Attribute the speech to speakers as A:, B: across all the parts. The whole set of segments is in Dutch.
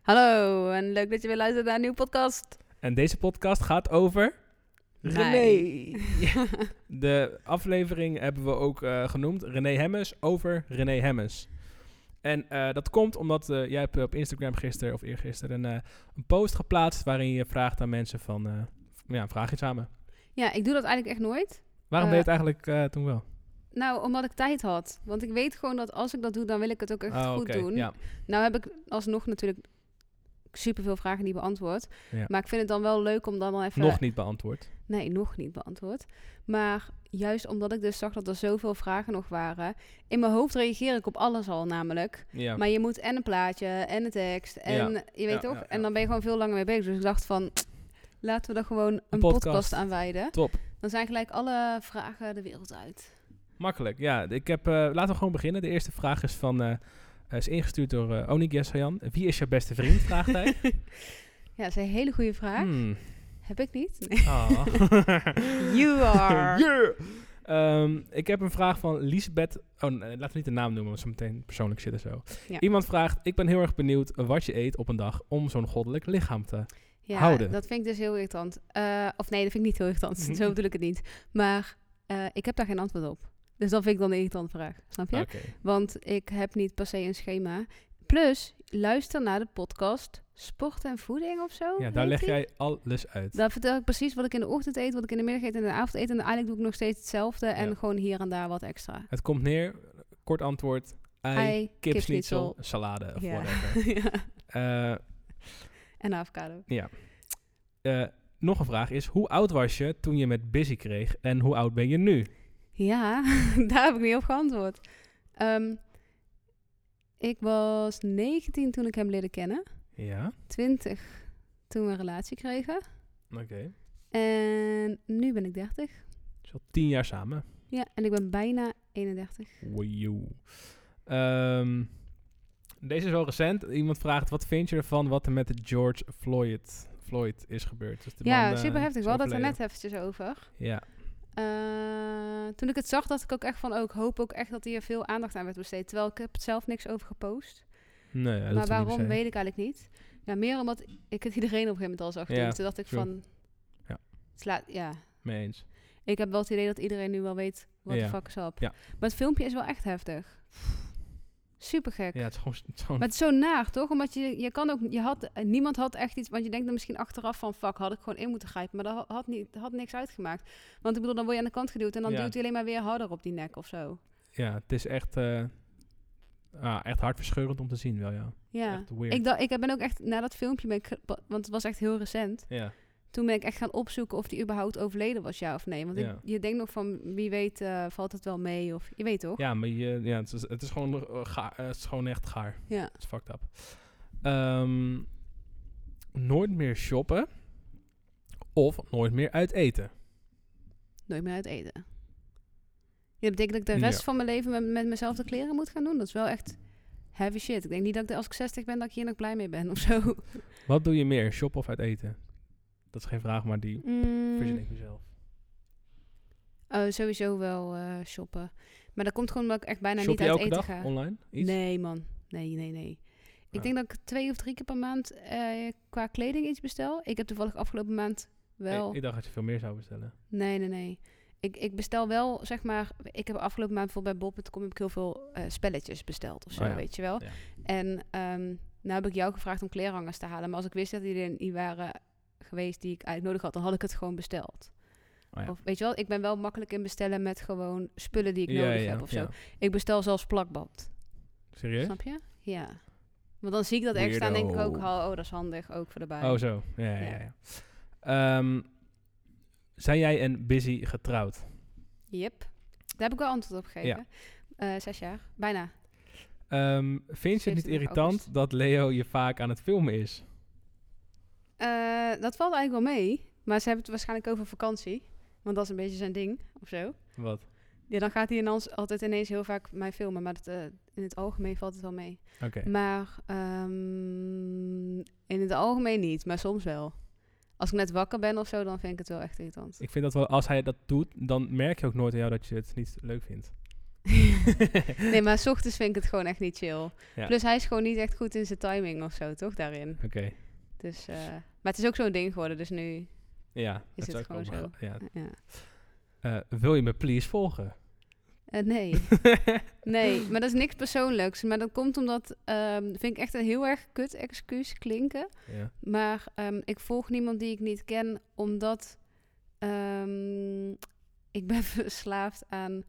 A: Hallo en leuk dat je weer luistert naar een nieuwe podcast.
B: En deze podcast gaat over.
A: Mij.
B: Ja. De aflevering hebben we ook eh, genoemd. René Hemmers over René Hemmers. En eh, dat komt omdat eh, jij hebt op Instagram gisteren of eergisteren een, eh, een post geplaatst waarin je vraagt aan mensen van. eh, ja, vraag iets aan me.
A: Ja, ik doe dat eigenlijk echt nooit.
B: Waarom
A: Eh,
B: deed je het eigenlijk eh, toen wel?
A: Nou, omdat ik tijd had. Want ik weet gewoon dat als ik dat doe, dan wil ik het ook echt
B: Ah,
A: goed
B: oké,
A: doen.
B: Ja.
A: Nou heb ik alsnog natuurlijk superveel vragen die beantwoord.
B: Ja.
A: Maar ik vind het dan wel leuk om dan wel even...
B: Nog niet beantwoord.
A: Nee, nog niet beantwoord. Maar juist omdat ik dus zag dat er zoveel vragen nog waren... In mijn hoofd reageer ik op alles al namelijk.
B: Ja.
A: Maar je moet en een plaatje en een tekst en je weet
B: ja,
A: toch?
B: ja.
A: En dan ben je gewoon veel langer mee bezig. Dus ik dacht van... Laten we er gewoon een,
B: podcast.
A: podcast aan wijden.
B: Top.
A: Dan zijn gelijk alle vragen de wereld uit.
B: Makkelijk, ja. Ik heb, eh, laten we gewoon beginnen. De eerste vraag is van... eh, eh, is ingestuurd door eh Onik Yeshayan. Wie is jouw beste vriend? Vraagt hij.
A: Ja, dat is een hele goede vraag.
B: Hmm.
A: Heb ik niet? Nee.
B: Ah.
A: You are.
B: Yeah! Ehm, ik heb een vraag van Lisbeth. Oh, nee, laten we niet de naam noemen, want zo meteen persoonlijk zit en zo.
A: Ja.
B: Iemand vraagt: Ik ben heel erg benieuwd wat je eet op een dag om zo'n goddelijk lichaam te.
A: Ja,
B: Houden.
A: dat vind ik dus heel irritant. Eh, of nee, dat vind ik niet heel irritant. Zo bedoel ik het niet. Maar eh, ik heb daar geen antwoord op. Dus dat vind ik dan een irritante vraag. Snap je?
B: Oké.
A: Want ik heb niet per se een schema. Plus, luister naar de podcast Sport en Voeding of zo.
B: Ja, daar
A: heet
B: leg
A: die.
B: jij alles uit.
A: Daar vertel ik precies wat ik in de ochtend eet, wat ik in de middag eet en in de avond eet. En eigenlijk doe ik nog steeds hetzelfde. En
B: Ja.
A: gewoon hier en daar wat extra.
B: Het komt neer, kort antwoord: ei,
A: Ei,
B: kipsnitzel,
A: kipsnitzel.
B: salade of
A: Ja.
B: whatever.
A: ja.
B: Eh,
A: En avocado.
B: eh, nog een vraag is: Hoe oud was je toen je met Busy kreeg en hoe oud ben je nu?
A: Ja, daar heb ik niet op geantwoord. Ehm, ik was 19 toen ik hem leerde kennen.
B: Ja,
A: 20 toen we een relatie kregen.
B: oké.
A: En nu ben ik 30.
B: Dus al tien jaar samen.
A: Ja, en ik ben bijna 31.
B: Woejoe. Ehm, deze is wel recent. Iemand vraagt, wat vind je ervan wat er met George Floyd, Floyd is gebeurd? Dus de
A: ja,
B: man, eh,
A: super heftig.
B: is
A: We hadden het er net
B: overleden.
A: eventjes over.
B: Ja,
A: Eh, toen ik het zag, dacht ik ook echt van... Ook, hoop ook echt dat hier veel aandacht aan werd besteed. Terwijl ik heb het zelf niks over gepost.
B: nee, ja, dat
A: maar
B: hoeft niet
A: waarom
B: per se.
A: weet ik eigenlijk niet. Ja, meer omdat ik het iedereen op een gegeven moment al zag doen.
B: Ja,
A: Toen dacht ik
B: true.
A: van...
B: Ja.
A: Sla, ja,
B: Mee eens.
A: Ik heb wel het idee dat iedereen nu wel weet wat
B: Ja.
A: de fuck is op.
B: Ja.
A: Maar het filmpje is wel echt heftig. Super gek.
B: Ja, het is gewoon... het is gewoon-
A: Maar het is zo naar, toch? Omdat je, je kan ook, je had, eh, niemand had echt iets, want je denkt dan misschien achteraf van, fuck, had ik gewoon in moeten grijpen. Maar dat had- had, niet, had niks uitgemaakt. Want ik bedoel, dan word je aan de kant geduwd en dan
B: Ja.
A: duwt hij alleen maar weer harder op die nek of zo.
B: ja, het is echt... eh, ah, echt hartverscheurend om te zien wel, ja.
A: Ja.
B: Echt weird.
A: Ik, dacht, ik ben ook echt, na dat filmpje ben ik, ge- pa- want het was echt heel recent,
B: ja,
A: toen ben ik echt gaan opzoeken of die überhaupt overleden was, ja of nee. Want ik-
B: Ja.
A: je denkt nog van, wie weet eh, valt het wel mee of, je weet toch?
B: ja, maar je, ja, het, is, het, is gewoon, eh, gaar, eh, het is gewoon echt gaar.
A: Ja.
B: Het is fucked up. Ehm, nooit meer shoppen of nooit meer uit eten.
A: nooit meer uit eten. Ja, dat betekent dat ik de
B: Ja.
A: rest van mijn leven met, met mezelf de kleren moet gaan doen. Dat is wel echt heavy shit. Ik denk niet dat ik de- als ik 60 ben, dat ik hier nog blij mee ben of zo.
B: Wat doe je meer, shoppen of uit eten? Dat is geen vraag, maar die
A: Mm,
B: verzin ik mezelf.
A: eh, sowieso wel eh, shoppen. Maar dat komt gewoon omdat ik echt bijna
B: Shop
A: niet
B: je
A: uit
B: elke
A: eten
B: dag
A: ga.
B: online? Iets? Ah.
A: Nee, man. Nee, nee, nee. Ik
B: Ja.
A: denk dat ik twee of drie keer per maand eh, qua kleding iets bestel. Ik heb toevallig afgelopen maand wel...
B: Ik, ik dacht dat je veel meer zou bestellen.
A: Nee, nee, nee. Ik, ik bestel wel, zeg maar... Ik heb afgelopen maand bijvoorbeeld bij Bob.com heb ik heel veel eh, spelletjes besteld of zo,
B: Oh ja.
A: weet je wel.
B: Ja.
A: En ehm nou heb ik jou gevraagd om kleerhangers te halen. Maar als ik wist dat die er niet waren geweest die ik eigenlijk nodig had, dan had ik het gewoon besteld.
B: Oh ja.
A: Of weet je wel, ik ben wel makkelijk in bestellen met gewoon spullen die ik nodig heb of zo.
B: ja.
A: Ik bestel zelfs plakband.
B: Serieus?
A: Snap je? Ja. Want dan zie ik dat extra en denk ik ook,
B: Weirdo.
A: oh, dat is handig, ook voor de baan.
B: Oh, zo. Ja, ja,
A: Ja.
B: ja. ja. Ehm, zijn jij en Busy getrouwd?
A: Yep. Daar heb ik wel antwoord op gegeven.
B: Ja.
A: Eh, zes jaar, bijna.
B: Ehm, vind je het niet
A: 27
B: irritant
A: augustus.
B: dat Leo je vaak aan het filmen is?
A: Eh, dat valt eigenlijk wel mee. Maar ze hebben het waarschijnlijk over vakantie. Want dat is een beetje zijn ding, of zo.
B: Wat?
A: Ja, dan gaat hij ineens, altijd ineens heel vaak mij filmen, maar dat, eh, in het algemeen valt het wel mee.
B: Oké.
A: Maar ehm, in het algemeen niet, maar soms wel. Als ik net wakker ben of zo, dan vind ik het wel echt irritant.
B: Ik vind dat wel, als hij dat doet, dan merk je ook nooit aan jou dat je het niet leuk vindt.
A: Nee, maar s ochtends vind ik het gewoon echt niet chill.
B: Ja.
A: Plus hij is gewoon niet echt goed in zijn timing of zo, toch? Daarin.
B: Oké,
A: Dus, eh, maar het is ook zo'n ding geworden, dus nu...
B: ja.
A: Is
B: dat
A: het
B: zou ik
A: gewoon
B: ook wel- Ja.
A: Ja.
B: Eh, wil je me please volgen?
A: Eh, nee. nee, maar dat is niks persoonlijks. Maar dat komt omdat, ehm vind ik echt een heel erg kut excuus klinken.
B: ja.
A: Maar ehm, ik volg niemand die ik niet ken, omdat ehm, ik ben verslaafd aan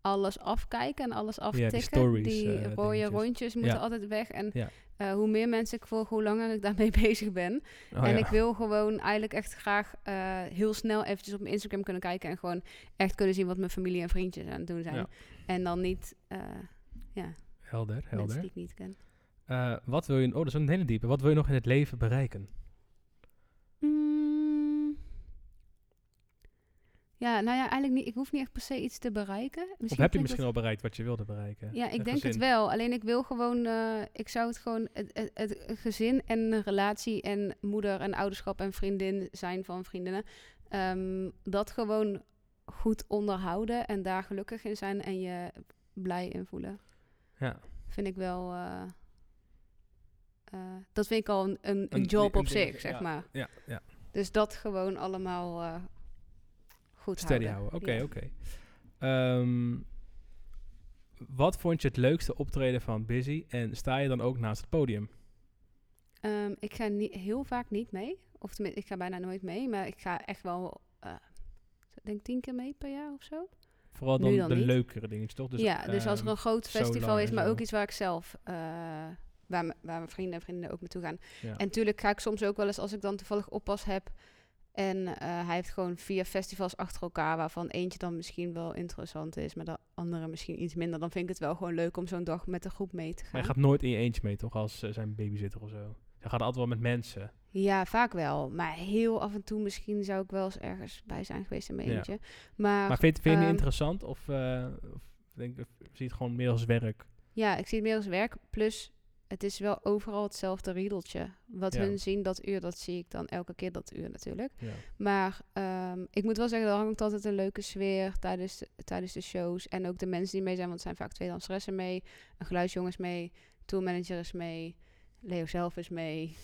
A: alles afkijken en alles aftikken.
B: stories,
A: Die
B: eh,
A: rode
B: dingetjes.
A: rondjes moeten
B: Ja.
A: altijd weg. En
B: Ja.
A: eh, hoe meer mensen ik volg, hoe langer ik daarmee bezig ben.
B: Oh,
A: en
B: ja.
A: ik wil gewoon eigenlijk echt graag eh, heel snel eventjes op mijn Instagram kunnen kijken. En gewoon echt kunnen zien wat mijn familie en vriendjes aan het doen zijn.
B: Ja.
A: En dan niet eh, ja,
B: Helder,
A: mensen
B: helder.
A: die ik niet ken.
B: Eh, wat wil je... Oh, dat is een hele diepe. Wat wil je nog in het leven bereiken?
A: Dus Mm. Ja, nou ja, eigenlijk niet. Ik hoef niet echt per se iets te bereiken.
B: of heb je
A: klinkt
B: misschien
A: dat-
B: al bereikt wat je wilde bereiken?
A: Ja, ik
B: Een
A: denk het
B: gezin.
A: wel. Alleen ik wil gewoon, eh, ik zou het gewoon, het, het, het gezin en relatie en moeder en ouderschap en vriendin zijn van vriendinnen, ehm, dat gewoon goed onderhouden en daar gelukkig in zijn en je blij in voelen.
B: Ja.
A: Vind ik wel, eh, eh, dat vind ik al een, een, een
B: Een-
A: job
B: een
A: op
B: dingetje,
A: zich, zeg
B: ja.
A: maar.
B: Ja, ja.
A: Dus dat gewoon allemaal eh, goed
B: Steady
A: houden.
B: houden. Oké,
A: Ja.
B: oké. Ehm, wat vond je het leukste optreden van Busy? En sta je dan ook naast het podium?
A: Ehm, ik ga niet, heel vaak niet mee. Of tenminste, ik ga bijna nooit mee. Maar ik ga echt wel, eh, ik denk tien keer mee per jaar of zo.
B: Vooral
A: Nu
B: dan,
A: dan
B: de
A: niet.
B: leukere dingetjes, toch?
A: ja, dus als er
B: ehm,
A: een groot
B: solo
A: festival is,
B: en
A: maar
B: zo.
A: ook iets waar ik zelf... eh, waar, m- waar mijn vrienden en vrienden ook naartoe gaan.
B: Ja.
A: En natuurlijk ga ik soms ook wel eens, als ik dan toevallig oppas heb... en eh, hij heeft gewoon vier festivals achter elkaar... waarvan eentje dan misschien wel interessant is... maar de andere misschien iets minder. Dan vind ik het wel gewoon leuk om zo'n dag met de groep mee te
B: Maar
A: gaan.
B: je gaat nooit in je eentje mee, toch? Als eh, zijn babysitter of zo. Je gaat altijd wel met mensen.
A: Ja, vaak wel. Maar heel af en toe misschien zou ik wel eens ergens bij zijn geweest in mijn
B: Ja.
A: eentje. Maar,
B: maar vind, vind je het niet
A: ehm,
B: interessant? Of, eh, of denk, of zie je het gewoon meer als werk?
A: ja, ik zie het meer als werk. Plus, het is wel overal hetzelfde riedeltje. Wat
B: Ja.
A: hun zien dat uur, dat zie ik dan elke keer dat uur natuurlijk.
B: Ja.
A: Maar ehm, ik moet wel zeggen, er hangt altijd een leuke sfeer tijdens, tijdens de shows. En ook de mensen die mee zijn, want er zijn vaak twee danseressen mee. Een geluidsjongen is mee, tourmanager is mee, Leo zelf is mee.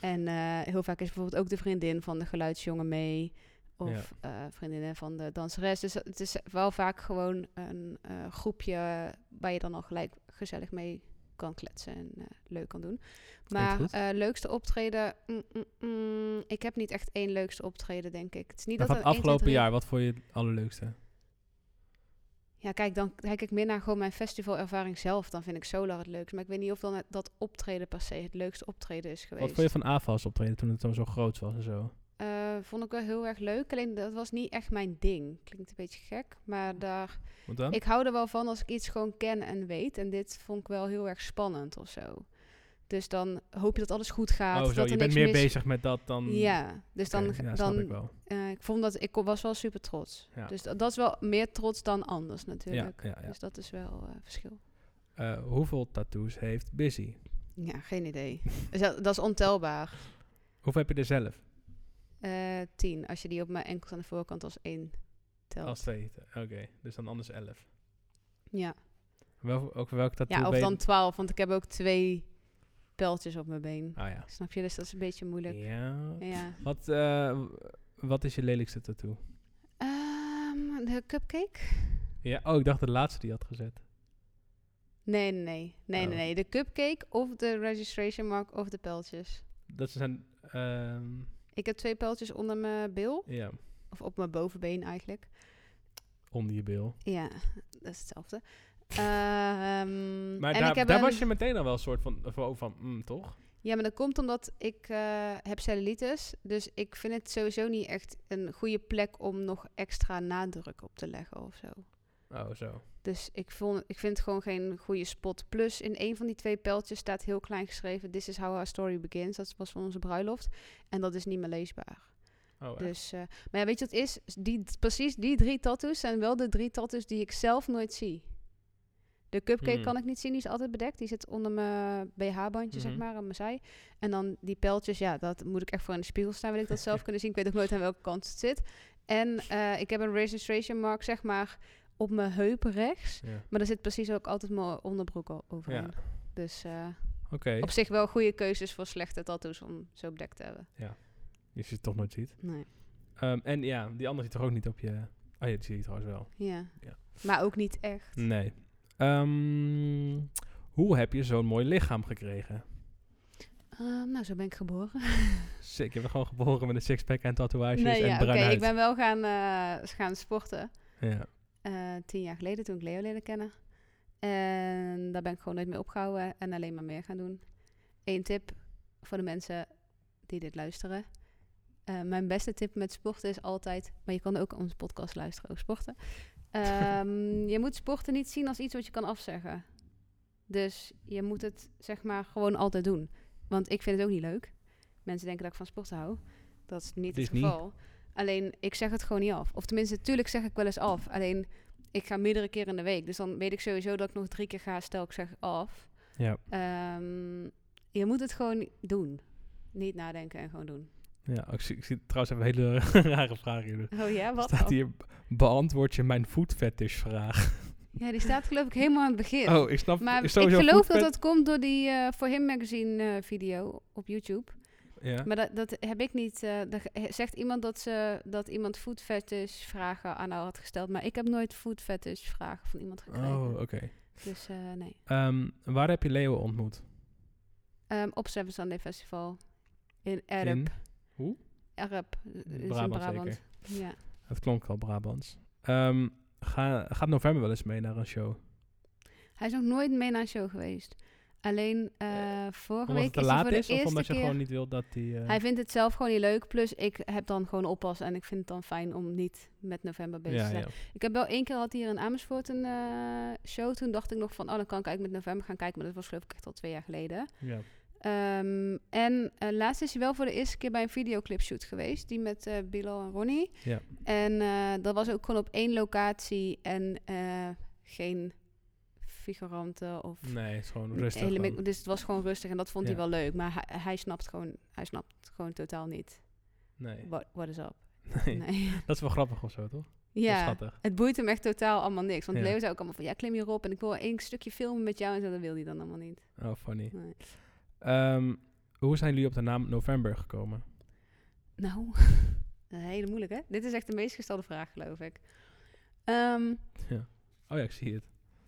A: En eh, heel vaak is bijvoorbeeld ook de vriendin van de geluidsjongen mee. Of eh, vriendinnen van de danseres. Dus het is wel vaak gewoon een eh, groepje waar je dan al gelijk gezellig mee kan kletsen en eh, leuk kan doen. Maar
B: goed.
A: eh, leukste optreden... mm, mm, mm, ik heb niet echt één leukste optreden, denk ik. Het is niet
B: Maar
A: dat
B: van het
A: er één, twee,
B: afgelopen
A: drie-
B: jaar, wat vond je het allerleukste?
A: Ja, kijk, dan kijk ik meer naar gewoon mijn festivalervaring zelf. Dan vind ik solo het leukst. Maar ik weet niet of dan het- dat optreden per se het leukste optreden is geweest.
B: Wat vond je van AFAS optreden toen het dan zo groot was en zo?
A: Eh, vond ik wel heel erg leuk. Alleen dat was niet echt mijn ding. Klinkt een beetje gek, maar daar...
B: Want dan?
A: Ik hou er wel van als ik iets gewoon ken en weet. En dit vond ik wel heel erg spannend of zo. Dus dan hoop je dat alles goed gaat.
B: oh, zo.
A: dat
B: Je
A: er niks
B: bent meer
A: mis-
B: bezig met dat dan.
A: Ja, dus
B: Mm. Oké,
A: dan...
B: ja, snap
A: dan
B: ik wel.
A: eh, ik vond dat... Ik was wel super trots.
B: Ja.
A: Dus dat, dat is wel meer trots dan anders
B: Ja,
A: natuurlijk.
B: ja, ja.
A: Dus dat is wel eh, verschil.
B: Eh, hoeveel tattoos heeft Busy?
A: Ja, geen idee. Dus dat, dat is ontelbaar.
B: Hoeveel heb je er zelf?
A: Eh, tien, als je die op mijn enkels aan de voorkant als één telt.
B: Als twee. Oké, dus dan anders elf.
A: Ja.
B: Wel, ook welk tattoo
A: ja, of
B: ben je-
A: dan twaalf, want ik heb ook twee pijltjes op mijn been.
B: Ah ja.
A: Snap je? Dus dat is een beetje moeilijk.
B: ja.
A: Ja.
B: Wat, eh, wat is je lelijkste tattoo?
A: Ehm, de cupcake?
B: Ja, oh, ik dacht de laatste die je had gezet.
A: Nee, nee, nee. Nee,
B: Oh.
A: nee, nee. De cupcake of de registration mark of de pijltjes.
B: Dat zijn. ehm,
A: Ik heb twee pijltjes onder mijn bil.
B: ja,
A: Of op mijn bovenbeen eigenlijk.
B: onder je bil.
A: Ja, dat is hetzelfde. Ehm,
B: Maar
A: en
B: daar,
A: ik heb
B: daar
A: een-
B: was je meteen al wel een soort van. van, van mm, toch?
A: Ja, maar dat komt omdat ik eh, heb cellulitis. Dus ik vind het sowieso niet echt een goede plek om nog extra nadruk op te leggen of zo.
B: Oh, zo.
A: Dus ik, vond, ik vind het gewoon geen goede spot. Plus, in een van die twee pijltjes staat heel klein geschreven... This is how our story begins. Dat was van onze bruiloft. En dat is niet meer leesbaar.
B: Oh, echt?
A: Dus, eh, maar ja, weet je wat het is? Die, precies die drie tattoos zijn wel de drie tattoos die ik zelf nooit zie. De cupcake
B: Hmm.
A: kan ik niet zien, die is altijd bedekt. Die zit onder mijn BH-bandje, zeg
B: Mhm.
A: maar, aan mijn zij. En dan die pijltjes, ja, dat moet ik echt voor in de spiegel staan, wil ik dat zelf kunnen zien. Ik weet ook nooit aan welke kant het zit. En eh, ik heb een registration mark, zeg maar, op mijn heup rechts.
B: Ja.
A: Maar daar zit precies ook altijd mijn onderbroek al overheen.
B: Ja.
A: Dus eh,
B: Oké,
A: op zich wel goede keuzes voor slechte tattoos om zo bedekt te hebben.
B: als je het toch nooit ziet.
A: Nee.
B: Ehm, en ja, die andere zit toch ook niet op je... Oh ja, die zie je trouwens wel.
A: Ja.
B: Ja.
A: Maar ook niet echt.
B: Nee. Ehm, hoe heb je zo'n mooi lichaam gekregen?
A: Eh, nou, zo ben ik geboren.
B: Sick, je bent gewoon geboren met een sixpack en tatoeages
A: nee,
B: en
A: ja,
B: bruin
A: ik
B: huid.
A: ben wel gaan, eh, gaan sporten.
B: Ja.
A: eh, tien jaar geleden toen ik Leo leerde kennen. En daar ben ik gewoon nooit mee opgehouden en alleen maar meer gaan doen. Eén tip voor de mensen die dit luisteren. Eh, mijn beste tip met sporten is altijd, maar je kan ook onze podcast luisteren over sporten. Ehm, je moet sporten niet zien als iets wat je kan afzeggen. Dus je moet het zeg maar gewoon altijd doen. Want ik vind het ook niet leuk. Mensen denken dat ik van sporten hou. Dat is niet
B: Het is
A: het
B: niet.
A: geval. Alleen ik zeg het gewoon niet af. Of tenminste, tuurlijk zeg ik wel eens af. Alleen ik ga meerdere keer in de week. Dus dan weet ik sowieso dat ik nog drie keer ga. Stel ik zeg af.
B: Ja.
A: Ehm, je moet het gewoon doen. Niet nadenken en gewoon doen.
B: Ja, oh, ik zie, ik zie trouwens even een hele rare vraag hier.
A: Oh ja, wat?
B: Staat hier, beantwoord je mijn foodfetish vraag?
A: Ja, die staat geloof ik helemaal aan het begin.
B: Oh, ik snap
A: Maar
B: is
A: ik
B: sowieso
A: geloof dat
B: foodfet-
A: dat komt door die eh, Voor Him magazine eh, video op YouTube.
B: Ja.
A: Maar dat, dat heb ik niet. eh, daar ge- zegt iemand dat, ze, dat iemand food fetish vragen aan haar had gesteld. Maar ik heb nooit food fetish vragen van iemand gekregen.
B: Oh, oké.
A: Dus eh, nee.
B: Ehm, waar heb je Leo ontmoet?
A: Ehm, op Seven Sunday Festival. In Erp.
B: In?
A: Erp. eh, is in
B: Brabant
A: Brabant.
B: zeker.
A: Ja.
B: Het klonk al Brabants. Ehm, ga, gaat november wel eens mee naar een show?
A: Hij is nog nooit mee naar een show geweest. Alleen eh vorige
B: Omdat
A: week
B: het te
A: is hij
B: laat
A: voor de
B: is of
A: eerste
B: omdat je
A: keer...
B: gewoon niet wilt dat die... eh,
A: Hij vindt het zelf gewoon niet leuk. Plus ik heb dan gewoon oppas. En ik vind het dan fijn om niet met november bezig
B: ja,
A: te zijn.
B: ja.
A: Ik heb wel één keer had hier in Amersfoort een eh, show. Toen dacht ik nog van, oh dan kan ik eigenlijk met november gaan kijken. Maar dat was geloof ik echt al twee jaar geleden.
B: Ja.
A: Ehm, en eh, laatst is hij wel voor de eerste keer bij een videoclipshoot geweest. Die met eh Bilal en Ronnie.
B: Ja.
A: En eh, dat was ook gewoon op één locatie. En eh, geen figuranten of...
B: Nee, het is gewoon rustig.
A: hele
B: gewoon.
A: mik- dus het was gewoon rustig en dat vond
B: Ja.
A: hij wel leuk. Maar hij, hij, snapt gewoon, hij snapt gewoon totaal niet.
B: Nee.
A: What, what is up?
B: Nee.
A: Nee.
B: Dat is wel grappig of zo, toch? Dat is
A: ja.
B: Schattig.
A: Het boeit hem echt totaal allemaal niks. Want
B: Ja.
A: Leo zei ook allemaal van, ja, klim hierop en ik wil één stukje filmen met jou. En zo, dat wil hij dan allemaal niet.
B: Oh, funny.
A: Nee.
B: Ehm, hoe zijn jullie op de naam november gekomen?
A: Nou, dat is hele moeilijk, hè? Dit is echt de meest gestelde vraag, geloof ik. Ehm,
B: Oh ja, ik zie het.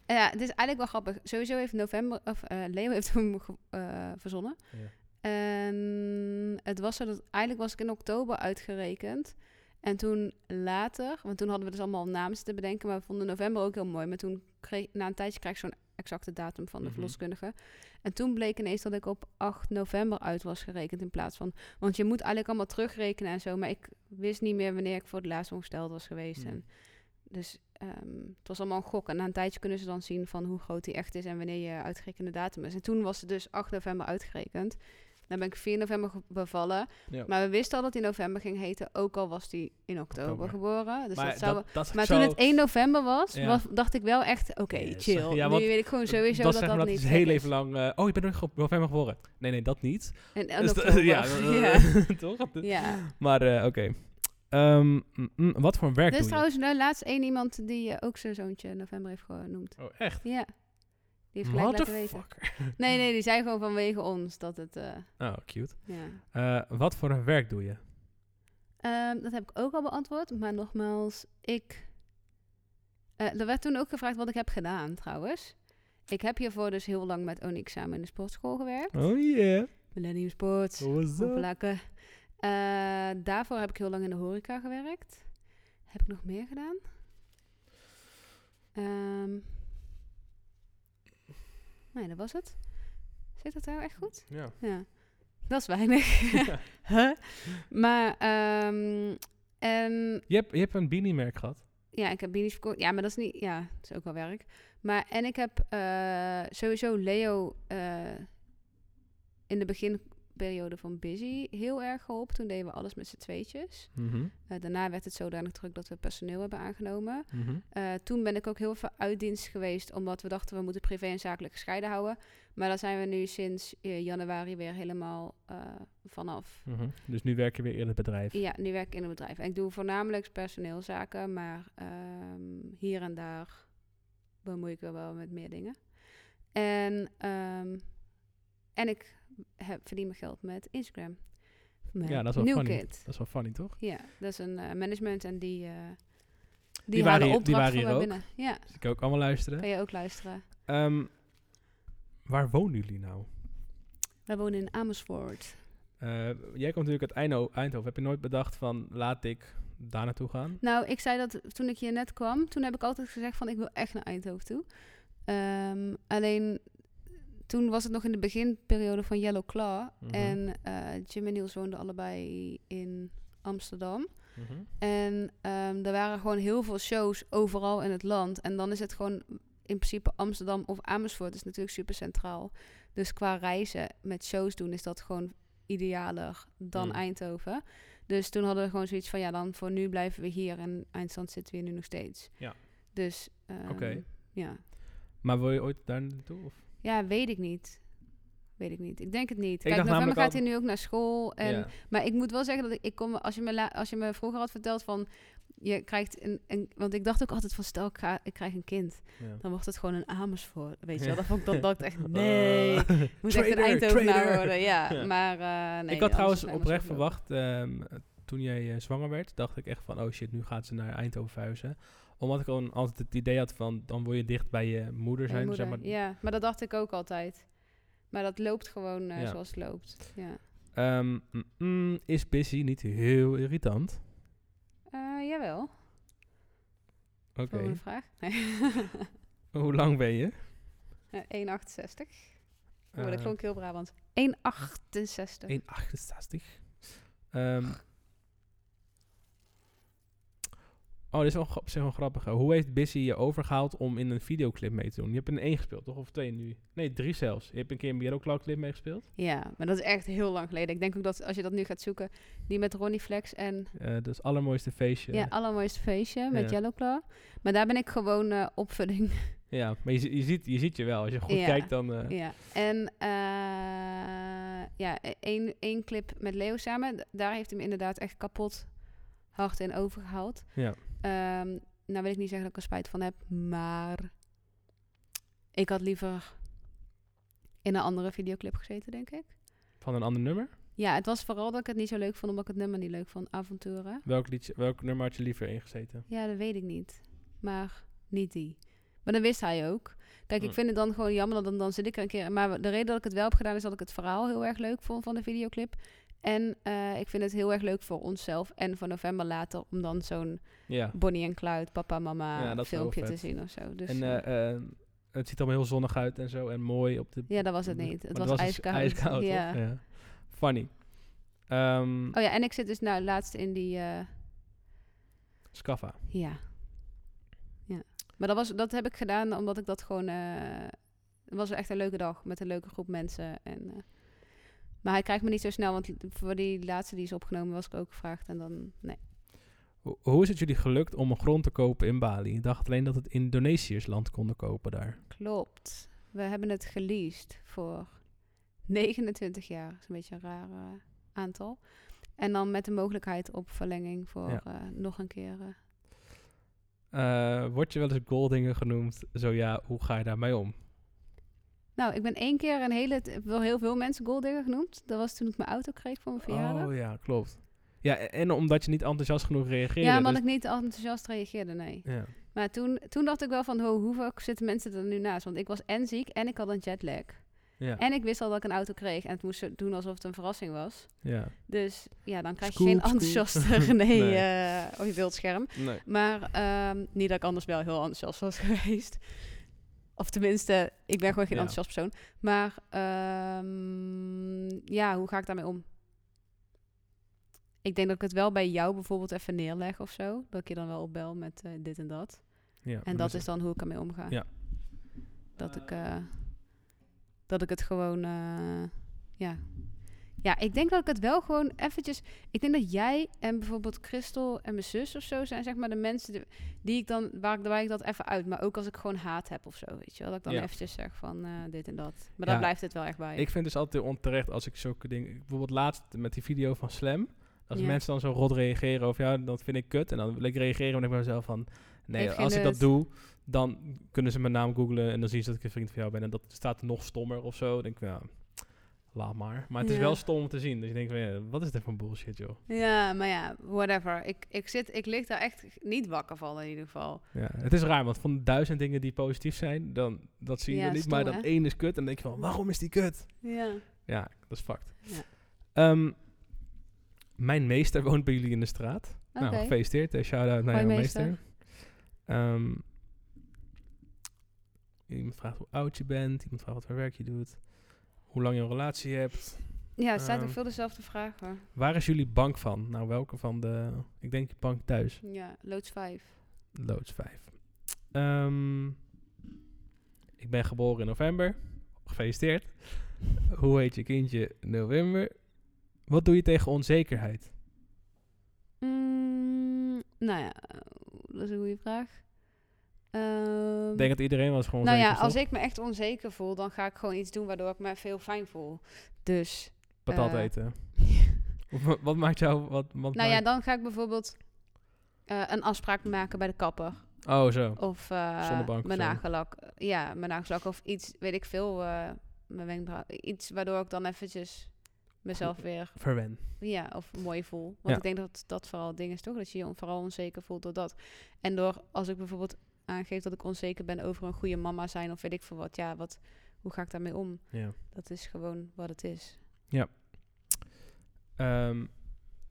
A: Eh, ja, het is eigenlijk wel grappig. Sowieso heeft november, of eh, Leo heeft hem ge- eh, verzonnen.
B: Ja.
A: En het was zo dat, eigenlijk was ik in oktober uitgerekend. En toen later, want toen hadden we dus allemaal namen te bedenken, maar we vonden november ook heel mooi. Maar toen kreeg, na een tijdje krijg ik zo'n exacte datum van de
B: Mhm.
A: verloskundige. En toen bleek ineens dat ik op 8 november uit was gerekend in plaats van... Want je moet eigenlijk allemaal terugrekenen en zo, maar ik wist niet meer wanneer ik voor het laatst ongesteld was geweest.
B: Hmm.
A: En dus ehm, het was allemaal een gok. En na een tijdje kunnen ze dan zien van hoe groot die echt is en wanneer je uitgerekende datum is. En toen was het dus 8 november uitgerekend. Dan ben ik 4 november ge- bevallen.
B: Ja.
A: Maar we wisten al dat hij november ging heten, ook al was hij in oktober,
B: Oktober.
A: geboren. Dus
B: maar
A: dat zou...
B: dat, dat
A: maar
B: zou-
A: toen het 1 november was,
B: Ja.
A: was- dacht ik wel echt, oké,
B: Ja, dat
A: chill.
B: zeg- ja,
A: nu
B: want
A: weet ik gewoon sowieso
B: dat
A: dat dat,
B: zeggen we
A: niet
B: is heel
A: gek
B: even
A: is.
B: lang. eh, oh, je bent nog op november geboren. Nee, nee, dat niet.
A: En, en
B: Dus dat-
A: oktober.
B: ja,
A: ja.
B: toch?
A: ja.
B: Maar eh, oké. Ehm, mm, mm, wat voor
A: Er
B: werk
A: is
B: doe je?
A: trouwens nou, laatst één iemand die eh, ook zijn zoontje in november heeft genoemd.
B: Oh, echt?
A: Ja. Die heeft gelijk laten weten.
B: Motherfucker.
A: Nee, nee, die zei gewoon vanwege ons dat het... eh,
B: Oh, cute.
A: ja.
B: Eh, wat voor een werk doe je?
A: Ehm, dat heb ik ook al beantwoord. Maar nogmaals, ik... eh, er werd toen ook gevraagd wat ik heb gedaan, trouwens. Ik heb hiervoor dus heel lang met Onyx samen in de sportschool gewerkt.
B: Oh yeah.
A: Millennium Sports.
B: What's up?
A: Hoppelakke. Eh, daarvoor heb ik heel lang in de horeca gewerkt. Heb ik nog meer gedaan? Ehm, nee, dat was het. Zit dat nou echt goed?
B: Ja.
A: Ja. Dat is weinig. Huh? Maar, ehm, en
B: Je hebt, je hebt een beanie-merk gehad.
A: ja, ik heb beanies verkocht. Ja, maar dat is niet... Ja, dat is ook wel werk. Maar, en ik heb eh, sowieso Leo eh, in de begin periode van Busy heel erg geholpen. Toen deden we alles met z'n tweetjes.
B: Mhm,
A: Eh, daarna werd het zodanig druk dat we personeel hebben aangenomen.
B: mhm.
A: Eh, toen ben ik ook heel veel uit dienst geweest, omdat we dachten we moeten privé en zakelijk gescheiden houden. Maar daar zijn we nu sinds eh, januari weer helemaal eh, vanaf.
B: Mhm. Dus nu werk je weer in het bedrijf.
A: Ja, nu werk ik in een bedrijf. En ik doe voornamelijk personeelszaken, maar ehm, hier en daar bemoei ik me wel met meer dingen. En, ehm, en ik heb, verdien mijn geld met Instagram. Met
B: Ja, dat is wel
A: New
B: funny.
A: Kid.
B: Dat is wel funny, toch?
A: Ja, dat is een eh, management en die, eh die,
B: Die waren
A: halen
B: hier- die
A: opdracht
B: waren
A: voor
B: hier
A: mij
B: ook.
A: binnen. Ja,
B: Dus ik kan ook allemaal luisteren.
A: kan je ook luisteren.
B: Ehm, waar wonen jullie nou?
A: Wij wonen in Amersfoort.
B: Eh, jij komt natuurlijk uit Eindho- Eindhoven. Heb je nooit bedacht van, laat ik daar naartoe gaan?
A: Nou, ik zei dat toen ik hier net kwam, toen heb ik altijd gezegd van ik wil echt naar Eindhoven toe. Ehm, alleen toen was het nog in de beginperiode van Yellow Claw.
B: Mhm.
A: En eh, Jim en Niels woonden allebei in Amsterdam.
B: Mhm.
A: En ehm, er waren gewoon heel veel shows overal in het land. En dan is het gewoon in principe Amsterdam of Amersfoort. is natuurlijk super centraal. Dus qua reizen met shows doen is dat gewoon idealer dan
B: Mm.
A: Eindhoven. Dus toen hadden we gewoon zoiets van ja, dan voor nu blijven we hier. En eindstand zitten we hier nu nog steeds.
B: Ja.
A: Dus ehm,
B: Oké.
A: ja.
B: Maar wil je ooit daar naartoe? Of?
A: ja, weet ik niet. Weet ik niet. Ik denk het niet.
B: dacht
A: Kijk, november
B: namelijk
A: gaat
B: al-
A: hij nu ook naar school. En
B: Ja.
A: maar ik moet wel zeggen dat ik, ik kom, als je, me la- als je me vroeger had verteld van je krijgt een, een want ik dacht ook altijd van stel ik, ga, ik krijg een kind,
B: Ja.
A: dan wordt het gewoon een Amersfoort, weet je
B: Ja.
A: wel? Dan vond ik dat dacht ik echt nee, ik
B: Eh,
A: moet echt een
B: Traitor,
A: Eindhovenaar
B: traitor.
A: worden, ja.
B: Ja.
A: Maar eh, nee,
B: ik
A: anders
B: had trouwens
A: is het
B: oprecht
A: Amersfoort
B: verwacht, ehm, toen jij eh, zwanger werd, dacht ik echt van, oh shit, nu gaat ze naar Eindhoven verhuizen. Omdat ik dan altijd het idee had van, dan wil je dicht bij je
A: wel.
B: moeder
A: Ja,
B: zijn.
A: moeder,
B: zeg maar.
A: Ja, maar dat dacht ik ook altijd. Maar dat loopt gewoon eh,
B: Ja.
A: zoals het loopt. Ja.
B: Ehm, mm, mm, is busy niet heel irritant?
A: Eh, jawel.
B: Oké.
A: Volgende vraag. Eh, Nee.
B: Hoe lang ben je?
A: Eh, 1,68. Dan word ik
B: Eh,
A: gewoon keel Brabant. 1,68.
B: 1,68. Ehm, oh, dit is wel gra- op zich wel grappig. hè. Hoe heeft Busy je overgehaald om in een videoclip mee te doen? Je hebt in één gespeeld, toch? Of twee nu? Nee, drie zelfs. Je hebt een keer een Yellow Claw clip meegespeeld.
A: Ja, maar dat is echt heel lang geleden. Ik denk ook dat als je dat nu gaat zoeken, die met Ronnie Flex en
B: Eh, dat is het allermooiste feestje.
A: ja, allermooiste feestje met
B: Ja.
A: Yellow Claw. Maar daar ben ik gewoon eh opvoeding.
B: Ja, maar je, zi- je, ziet, je ziet je wel. Als je goed
A: Ja.
B: kijkt, dan... eh,
A: ja. En eh, ja, e- één, één clip met Leo samen. D- Daar heeft hij me inderdaad echt kapot hard in overgehaald.
B: Ja.
A: Ehm, nou wil ik niet zeggen dat ik er spijt van heb, maar ik had liever in een andere videoclip gezeten, denk ik.
B: Van een ander nummer?
A: Ja, het was vooral dat ik het niet zo leuk vond, omdat ik het nummer niet leuk vond, Avonturen.
B: Welk, liedje, welk nummer had je liever ingezeten?
A: Ja, dat weet ik niet. Maar niet die. Maar dan wist hij ook. Kijk, ik
B: Mm.
A: vind het dan gewoon jammer, dat dan, dan zit ik er een keer... Maar de reden dat ik het wel heb gedaan, is dat ik het verhaal heel erg leuk vond van de videoclip. En eh, ik vind het heel erg leuk voor onszelf en voor november later... om dan zo'n
B: Ja.
A: Bonnie en Clyde, papa, mama
B: Ja, dat is wel
A: filmpje
B: vet.
A: te zien of zo. Dus
B: en
A: eh,
B: eh, eh, het ziet allemaal heel zonnig uit en zo. En mooi op de
A: ja, dat was het niet.
B: Maar dus
A: Het was, ijskoud.
B: ijskoud, toch?
A: ja.
B: Ja. Funny. Ehm
A: Oh ja, en ik zit dus nou laatst in die... eh,
B: Scaffa.
A: Ja. Ja. Maar dat, was, dat heb ik gedaan omdat ik dat gewoon... eh, Het was echt een leuke dag met een leuke groep mensen. En, eh, maar hij krijgt me niet zo snel, want voor die laatste die is opgenomen was ik ook gevraagd. En dan, nee.
B: Ho- hoe is het jullie gelukt om een grond te kopen in Bali? Ik dacht alleen dat het Indonesiërs land konden kopen daar.
A: Klopt. We hebben het geleased voor 29 jaar. Dat is een beetje een raar eh, aantal. En dan met de mogelijkheid op verlenging voor
B: Ja.
A: eh, nog een keer. eh.
B: Eh, word je wel eens Goldinger genoemd? Zo ja, hoe ga je daarmee om?
A: Nou, ik ben één keer een hele... t- Wel heel veel mensen Goldigger genoemd. Dat was toen ik mijn auto kreeg voor mijn verjaardag.
B: Oh ja, klopt. Ja, e- en omdat je niet enthousiast genoeg reageerde.
A: Ja, omdat
B: dus-
A: ik niet enthousiast reageerde, nee.
B: ja.
A: Maar toen, toen dacht ik wel van, ho, hoe vaak zitten mensen er nu naast? Want ik was en ziek en ik had een jetlag.
B: Ja.
A: En ik wist al dat ik een auto kreeg en het moest zo doen alsof het een verrassing was.
B: ja.
A: Dus ja, dan krijg
B: Scoop,
A: je
B: scoop.
A: geen enthousiaste René
B: Nee.
A: eh, op je beeldscherm.
B: Nee.
A: Maar ehm, niet dat ik anders wel heel enthousiast was geweest. Of tenminste, ik ben gewoon geen
B: Ja.
A: enthousiast persoon. Maar ehm, ja, hoe ga ik daarmee om? Ik denk dat ik het wel bij jou bijvoorbeeld even neerleg of zo. Dat ik je dan wel opbel met eh, dit en dat.
B: Ja, maar
A: En dat
B: dus-
A: is dan hoe ik ermee omga.
B: Ja.
A: Dat ik, eh, dat ik het gewoon, eh, ja. Ja, ik denk dat ik het wel gewoon eventjes... Ik denk dat jij en bijvoorbeeld Christel en mijn zus of zo zijn zeg maar de mensen die, die ik dan, waar ik, waar ik dat even uit. Maar ook als ik gewoon haat heb of zo, weet je wel. Dat ik dan
B: Ja.
A: eventjes zeg van eh, dit en dat. Maar dan
B: Ja.
A: blijft het wel echt bij.
B: Ik vind het dus altijd heel onterecht als ik zulke dingen... Bijvoorbeeld laatst met die video van Slam. Als
A: Ja.
B: mensen dan zo rot reageren over jou, dat vind ik kut. En dan wil ik reageren en ik bij mezelf van... Nee,
A: Heeft geen
B: als ik dat
A: nut.
B: doe, dan kunnen ze mijn naam googlen en dan zien ze dat ik een vriend van jou ben. En dat staat nog stommer of zo. Dan denk ik, ja, laat maar. Maar het is
A: Ja.
B: wel stom om te zien. Dus ik denk, van, ja, wat is dit voor bullshit, joh.
A: Ja, maar ja, whatever. Ik, ik, zit, ik lig daar echt niet wakker van in ieder geval.
B: Ja, het is raar, want van duizend dingen die positief zijn, dan, dat zie je
A: Ja,
B: niet.
A: stom,
B: maar dat
A: hè?
B: één is kut en dan denk je van, waarom is die kut?
A: Ja.
B: Ja, dat is fucked.
A: Ja.
B: Ehm, mijn meester woont bij jullie in de straat. Nou,
A: Oké.
B: gefeliciteerd. eh, Shout-out naar
A: Hoi,
B: jouw meester.
A: meester.
B: Ehm, iemand vraagt hoe oud je bent. Iemand vraagt wat voor werk je doet. Hoe lang je een relatie hebt.
A: Ja, het staat ook
B: Ehm.
A: veel dezelfde vraag hoor.
B: Waar is jullie bank van? Nou, welke van de... Ik denk bank thuis.
A: Ja, loods 5.
B: Loods 5. Ehm, ik ben geboren in november. Gefeliciteerd. Hoe heet je kindje november? Wat doe je tegen onzekerheid?
A: Mm, nou ja, eh, dat is een goede vraag. Ehm,
B: Ik denk dat iedereen was gewoon
A: nou ja,
B: onzeker,
A: als
B: toch?
A: ik me echt onzeker voel, dan ga ik gewoon iets doen waardoor ik me veel fijn voel. Dus,
B: patat
A: eh,
B: eten. Of wa- wat maakt jou... Wat, wat
A: nou ja,
B: maakt-
A: dan ga ik bijvoorbeeld eh, een afspraak maken bij de kapper.
B: Oh, zo.
A: Of eh,
B: Zonnebank of
A: mijn
B: zo.
A: nagellak. Ja, mijn nagellak of iets, weet ik veel, eh, mijn wenkbrauw. Iets waardoor ik dan eventjes mezelf weer,
B: Verwen.
A: ja, of mooi voel. Want
B: Ja.
A: ik denk dat dat vooral het ding is, toch? Dat je je on- vooral onzeker voelt door dat. En door, als ik bijvoorbeeld aangeef dat ik onzeker ben over een goede mama zijn of weet ik veel wat. Ja, wat, hoe ga ik daarmee om?
B: Ja.
A: Dat is gewoon wat het is.
B: Ehm,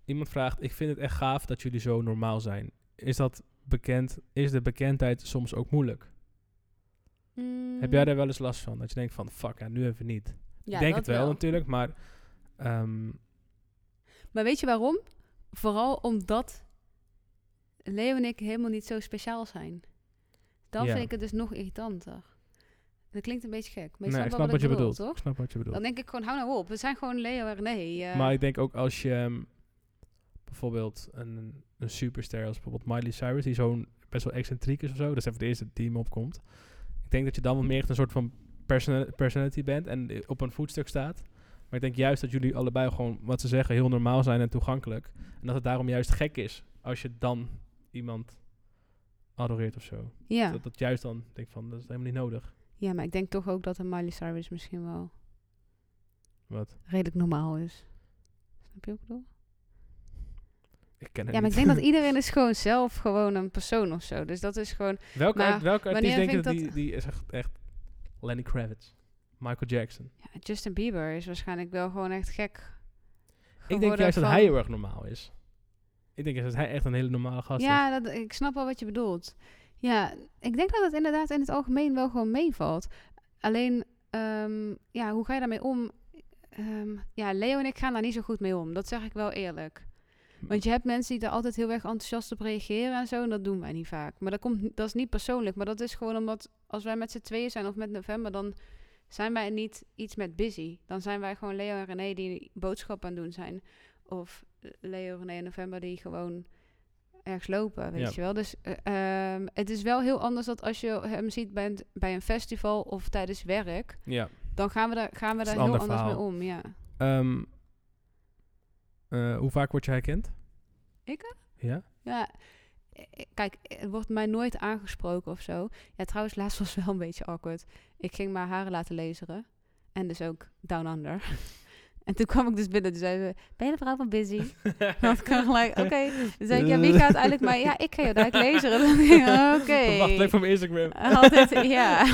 B: iemand vraagt, ik vind het echt gaaf dat jullie zo normaal zijn. Is dat bekend? Is de bekendheid soms ook moeilijk?
A: Mm.
B: Heb jij daar wel eens last van? Dat je denkt van, fuck, ja, nu even niet. ik denk het wel, natuurlijk, maar... ehm,
A: Maar weet je waarom? Vooral omdat Leo en ik helemaal niet zo speciaal zijn. Dan
B: Ja.
A: vind ik het dus nog irritanter. Dat klinkt een beetje gek. Maar
B: nee,
A: je
B: ik
A: snapt
B: snap
A: wel
B: wat, je
A: ik bedoel,
B: bedoelt. Ik
A: toch?
B: snap wat je bedoelt.
A: Dan denk ik gewoon, hou nou op. We zijn gewoon Leo en René. eh.
B: Maar ik denk ook als je ehm, bijvoorbeeld een, een superster als bijvoorbeeld Miley Cyrus, die zo'n best wel excentriek is of zo, dat is even de eerste die me opkomt. Ik denk dat je dan wel meer echt een soort van persona- personality bent en eh, op een voetstuk staat. Maar ik denk juist dat jullie allebei gewoon, wat ze zeggen, heel normaal zijn en toegankelijk. En dat het daarom juist gek is als je dan iemand adoreert of zo.
A: ja.
B: Dat, dat juist dan, denk ik van, dat is helemaal niet nodig.
A: ja, maar ik denk toch ook dat een Miley Cyrus misschien wel
B: Wat?
A: redelijk normaal is. Snap je ook bedoel?
B: Ik ken het
A: Ja, maar ik
B: niet.
A: denk dat iedereen is gewoon zelf gewoon een persoon of zo. Dus dat is gewoon...
B: Welke,
A: Maar
B: art- welke artiest
A: wanneer vind
B: denk je dat,
A: ik
B: Die, die is echt, echt Lenny Kravitz, Michael Jackson.
A: Ja, Justin Bieber is waarschijnlijk wel gewoon echt gek
B: Ik denk
A: geworden
B: juist dat
A: van-
B: hij heel erg normaal is. Ik denk juist dat hij echt een hele normale gast is.
A: Ja, dat, ik snap wel wat je bedoelt. Ja, ik denk dat het inderdaad in het algemeen wel gewoon meevalt. Alleen, ehm, ja, hoe ga je daarmee om? Ehm, ja, Leo en ik gaan daar niet zo goed mee om. Dat zeg ik wel eerlijk. Want je hebt mensen die er altijd heel erg enthousiast op reageren en zo. En dat doen wij niet vaak. Maar dat, komt, ni- dat is niet persoonlijk. Maar dat is gewoon omdat als wij met z'n tweeën zijn of met november, dan zijn wij niet iets met busy. Dan zijn wij gewoon Leo en René die boodschappen aan het doen zijn. Of eh, Leo, René en november die gewoon ergens lopen, weet
B: Ja.
A: je wel. Dus eh, ehm, het is wel heel anders dat als je hem ziet bij een, bij een festival of tijdens werk.
B: Ja.
A: Dan gaan we daar, gaan we
B: Dat is
A: daar
B: een
A: heel
B: ander
A: anders mee
B: verhaal.
A: om, ja.
B: Ehm, eh, hoe vaak word je herkend?
A: Ik,
B: Ja?
A: Ja, eh, eh, kijk, het wordt mij nooit aangesproken of zo. Ja, trouwens, laatst was wel een beetje awkward. Ik ging mijn haren laten laseren. En dus ook Down Under. en toen kwam ik dus binnen. Toen zei ze, ben je de vrouw van Busy? Want ik kan gelijk, oké. Toen zei ik, ja, wie gaat eigenlijk maar... Ja, ik ga je daar laseren. Dan denk ik, oké.
B: Wacht, leuk voor mijn Instagram.
A: Altijd, ja.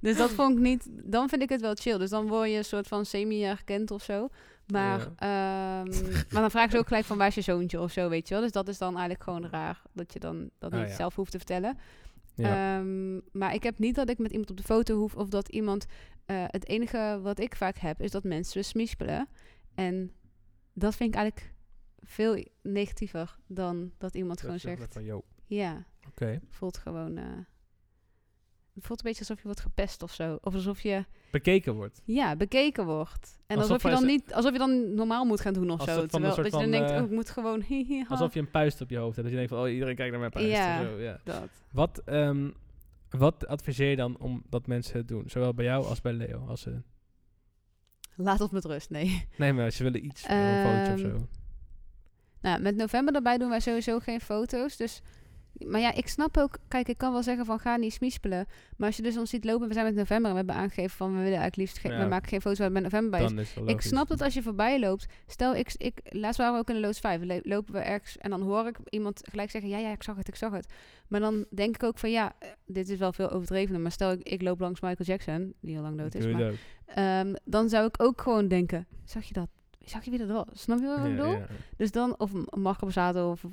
A: Dus dat vond ik niet... Dan vind ik het wel chill. Dus dan word je een soort van semi-herkend of zo. Maar, ehm, maar dan vragen ze ook gelijk van waar is je zoontje of zo, weet je wel. Dus dat is dan eigenlijk gewoon raar. Dat je dan dat
B: Ah,
A: niet
B: ja.
A: zelf hoeft te vertellen.
B: Ja.
A: Ehm, maar ik heb niet dat ik met iemand op de foto hoef of dat iemand... eh, het enige wat ik vaak heb is dat mensen me smispelen. En dat vind ik eigenlijk veel negatiever dan dat iemand
B: Dat
A: gewoon
B: je dan
A: zegt...
B: van, yo.
A: Ja,
B: Oké.
A: voelt gewoon... eh, het voelt een beetje alsof je wordt gepest of zo. Of alsof je
B: bekeken wordt.
A: ja, bekeken wordt. En
B: Alsof
A: alsof, je
B: wij
A: dan
B: ze-
A: niet, alsof je dan normaal moet gaan doen of
B: Alsof
A: zo.
B: van een
A: Terwijl
B: soort
A: dat je dan
B: van,
A: denkt,
B: eh,
A: oh, ik moet gewoon hihi.
B: Alsof je een puist op je hoofd hebt. Dat je denkt van, oh, iedereen kijkt naar mijn puist.
A: Ja.
B: of zo, ja.
A: dat.
B: Wat, ehm, wat adviseer je dan om dat mensen het doen? Zowel bij jou als bij Leo. Als ze,
A: Laat ons met rust, nee.
B: nee, maar ze willen iets, een foto of
A: Ehm,
B: zo.
A: Nou, met november erbij doen wij sowieso geen foto's. Dus, maar ja, ik snap ook... Kijk, ik kan wel zeggen van ga niet smiespelen. Maar als je dus ons ziet lopen... We zijn met november en we hebben aangegeven van... We willen eigenlijk liefst... geen-
B: Ja.
A: We maken geen foto's waar met november bij is.
B: Dan is het wel
A: Ik
B: logisch.
A: snap dat als je voorbij loopt. Stel, ik, ik, laatst waren we ook in de Loods 5. Le- Lopen we ergens en dan hoor ik iemand gelijk zeggen... Ja, ja, ik zag het, ik zag het. Maar dan denk ik ook van... Ja, eh, dit is wel veel overdrevener. Maar stel, ik, ik loop langs Michael Jackson... Die al lang dood is.
B: Doe je
A: Maar,
B: het ook.
A: ehm, dan zou ik ook gewoon denken... Zag je dat? Zag je wie dat was? Snap je wat ik
B: Ja,
A: bedoel?
B: ja.
A: Dus dan, of M- Marco Bazzato of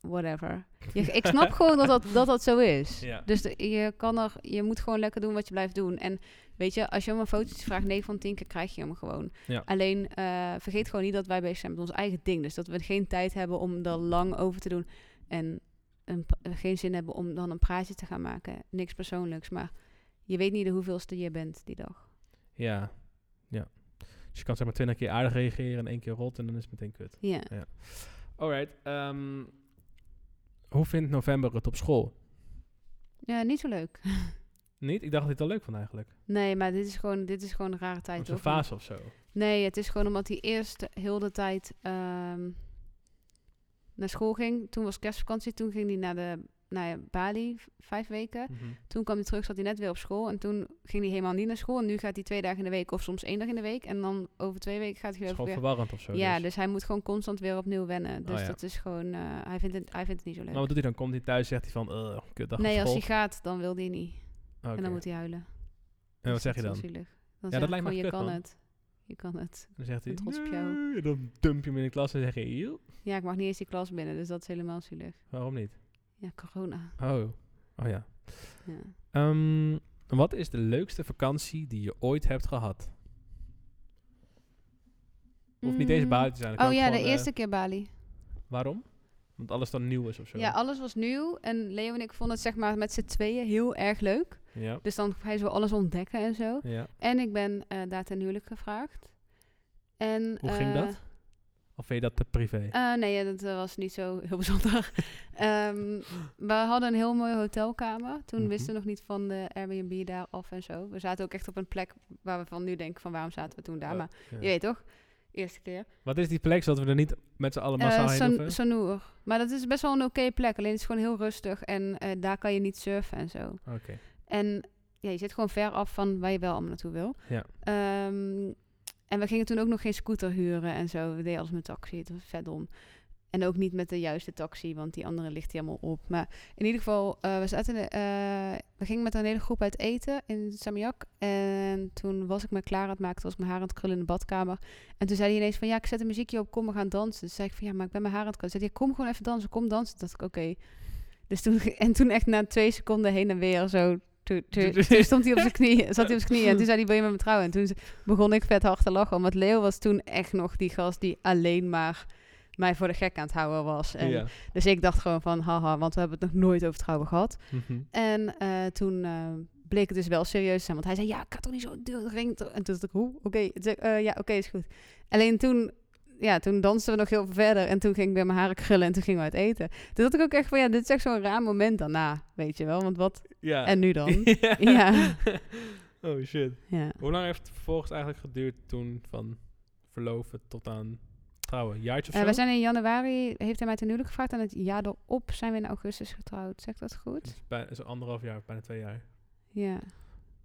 A: whatever. Je, ik snap gewoon dat dat, dat dat zo is.
B: Ja.
A: Dus de- je, kan er, je moet gewoon lekker doen wat je blijft doen. En weet je, als je om een fotootje vraagt, 9 van 10 keer krijg je hem gewoon.
B: Ja.
A: Alleen eh, vergeet gewoon niet dat wij bezig zijn met ons eigen ding. Dus dat we geen tijd hebben om er lang over te doen. En een, pa- geen zin hebben om dan een praatje te gaan maken. Niks persoonlijks, maar je weet niet de hoeveelste je bent die dag.
B: Ja. ja. Dus je kan zeg maar twintig keer aardig reageren en één keer rot en dan is het meteen kut.
A: Ja.
B: Alright. ehm, hoe vindt november het op school?
A: ja, niet zo leuk.
B: Niet? Ik dacht dat ik het al leuk vond eigenlijk.
A: Nee, maar dit is gewoon, dit is gewoon een rare tijd.
B: Of een
A: hoor.
B: fase of zo.
A: Nee, het is gewoon omdat hij eerst heel de tijd ehm, naar school ging. Toen was kerstvakantie. Toen ging hij naar, de, naar Bali, v- vijf weken.
B: Mhm.
A: Toen kwam hij terug, zat hij net weer op school. En toen ging hij helemaal niet naar school. En nu gaat hij twee dagen in de week of soms één dag in de week. En dan over twee weken gaat
B: Het
A: hij
B: is
A: weer...
B: gewoon
A: weer
B: verwarrend of zo.
A: ja,
B: dus. Oh
A: dus hij moet gewoon constant weer opnieuw wennen. Dus
B: ja.
A: dat is gewoon... eh, hij, vindt het, hij vindt het niet zo leuk.
B: Maar wat doet hij dan? Komt hij thuis zegt hij van, eh, kutdag op
A: dus nee, als
B: school.
A: hij gaat, dan wil hij niet.
B: Oh, oké.
A: En dan moet hij huilen.
B: En wat
A: Dus
B: zeg je
A: dat
B: dan?
A: is wel zielig. Dan
B: Ja,
A: zeg
B: dat
A: ik
B: lijkt me
A: gewoon, je
B: echt kut,
A: kan
B: man.
A: het. Je kan het.
B: Dan zegt hij,
A: ben trots op jou.
B: "Nee." dan dump je hem in de klas en zeg je, "Joe."
A: Ja, ik mag niet eens die klas binnen, dus dat is helemaal zielig.
B: Waarom niet?
A: Ja, corona.
B: Oh, oh ja.
A: Ja.
B: Ehm, wat is de leukste vakantie die je ooit hebt gehad? Hoeft niet eens
A: Mm.
B: buiten te zijn. dat
A: Oh
B: kan
A: ja, de
B: gewoon, eh,
A: eerste keer Bali.
B: Waarom? Want alles dan nieuw is of zo.
A: Ja, alles was nieuw. En Leo en ik vonden het zeg maar met z'n tweeën heel erg leuk.
B: ja.
A: Dus dan ga je zo alles ontdekken en zo.
B: ja.
A: En ik ben eh, daar ten huwelijk gevraagd. En,
B: Hoe ging
A: eh,
B: dat? Of vind je dat te privé?
A: eh, nee, ja, dat eh, was niet zo heel bijzonder. Ehm, we hadden een heel mooie hotelkamer. Toen
B: Mhm.
A: wisten we nog niet van de Airbnb daar af en zo. We zaten ook echt op een plek waar we van nu denken van waarom zaten we toen daar.
B: Oh,
A: maar
B: ja.
A: je weet toch, eerste keer.
B: Wat is die plek zodat we er niet met z'n allen massaal
A: Eh,
B: heen
A: San-
B: hoeven?
A: Sanur. Maar dat is best wel een oké plek. Alleen het is gewoon heel rustig en eh, daar kan je niet surfen en zo.
B: Oké.
A: En ja, je zit gewoon ver af van waar je wel allemaal naartoe wil.
B: Ja.
A: Ehm, en we gingen toen ook nog geen scooter huren en zo. We deden alles met taxi. Het was vet dom. En ook niet met de juiste taxi, want die andere ligt helemaal op. Maar in ieder geval, eh, we, zaten, eh, we gingen met een hele groep uit eten in Samiak. En toen was ik me klaar aan het maken, toen was ik mijn haar aan het krullen in de badkamer. En toen zei hij ineens van, ja, ik zet een muziekje op, kom, we gaan dansen. Toen zei ik van, ja, maar ik ben mijn haar aan het krullen. Toen zei hij, kom gewoon even dansen, kom dansen. Toen dacht ik, oké. Dus toen, en toen echt na twee seconden heen en weer zo... Toen, toen, toen stond hij op zijn knieën, zat hij op zijn knieën en toen zei hij, wil je met me trouwen? En toen begon ik vet hard te lachen, want Leo was toen echt nog die gast die alleen maar mij voor de gek aan het houden was. En
B: Ja.
A: dus ik dacht gewoon van, haha, want we hebben het nog nooit over trouwen gehad.
B: Mhm.
A: En eh, toen eh, bleek het dus wel serieus te zijn. Want hij zei, ja, ik had toch niet zo'n dure ring. toch? En toen dacht ik, hoe? Oké, Toen zei ik, "Eh, ja, oké, is goed. Alleen toen, ja, toen dansten we nog heel veel verder. En toen ging ik weer mijn haren krullen en toen gingen we uit eten. Toen dacht ik ook echt van, ja, dit is echt zo'n raar moment daarna, weet je wel. Want wat,
B: Ja.
A: en nu dan?
B: Ja.
A: Ja.
B: oh shit.
A: Ja.
B: Hoe lang heeft het vervolgens eigenlijk geduurd toen van verloven tot aan trouwen? Een jaartje of
A: Eh,
B: zo?
A: we zijn in januari, heeft hij mij ten huwelijk gevraagd. En het jaar erop zijn we in augustus getrouwd. Zeg ik dat
B: Dat
A: goed?
B: is, bijna, Dus is anderhalf jaar, bijna twee jaar.
A: Ja.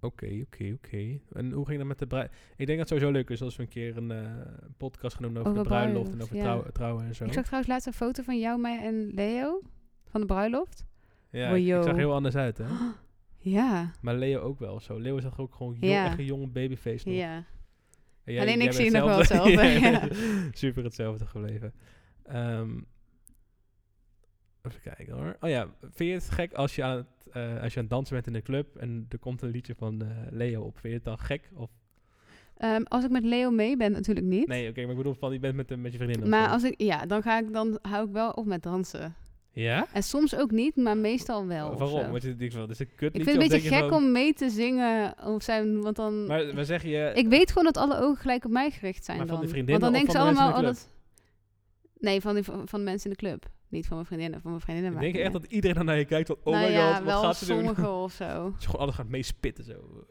B: Oké, oké, oké. En hoe ging dat met de bruid? Ik denk dat het sowieso leuk is als we een keer een eh, podcast gaan doen over,
A: Over
B: de bruiloft en
A: bruiloft,
B: over
A: ja.
B: trouwen, trouwen en zo.
A: Ik zag trouwens laatst een foto van jou, mij en Leo. Van de bruiloft.
B: ja,
A: Oh,
B: ik, ik
A: yo.
B: zag heel anders uit, hè?
A: Ja.
B: Maar Leo ook wel zo. Leo is toch ook gewoon jong,
A: Ja.
B: echt een jonge babyface nog.
A: Ja.
B: En jij-
A: Alleen
B: jij
A: ik
B: bent
A: zie nog wel hetzelfde,
B: Super hetzelfde gebleven. Ehm, even kijken hoor. Oh ja, vind je het gek als je aan het, eh, als je aan het dansen bent in de club en er komt een liedje van eh, Leo op? Vind je het dan gek? Of,
A: Ehm, als ik met Leo mee ben, natuurlijk niet.
B: nee, oké, maar ik bedoel van je bent met, de- met je vriendin. of
A: maar
B: zo.
A: als ik, ja, dan ga ik, dan hou ik wel op met dansen.
B: Ja?
A: En soms ook niet, maar meestal wel. of
B: Eh, Waarom?
A: zo.
B: Want je denkt van, dit is een kut
A: Ik vind het een beetje gek om mee te zingen. Of zijn, want dan,
B: Maar, maar zeg je...
A: ik weet gewoon dat alle ogen gelijk op mij gericht zijn
B: Maar van
A: dan.
B: die vriendinnen
A: Want dan
B: of
A: denken
B: van
A: ze
B: de
A: allemaal...
B: mensen
A: oh, dat- Nee, van, die, van van de mensen in de club. Niet van mijn vriendinnen. Van mijn vriendinnen
B: ik
A: maakt
B: denk echt
A: niet
B: dat iedereen dan naar je kijkt van, oh
A: uit.
B: my
A: nou ja,
B: god, wat
A: wel
B: gaat ze doen?
A: sommigen of zo.
B: Dat je gewoon alles gaat meespitten zo.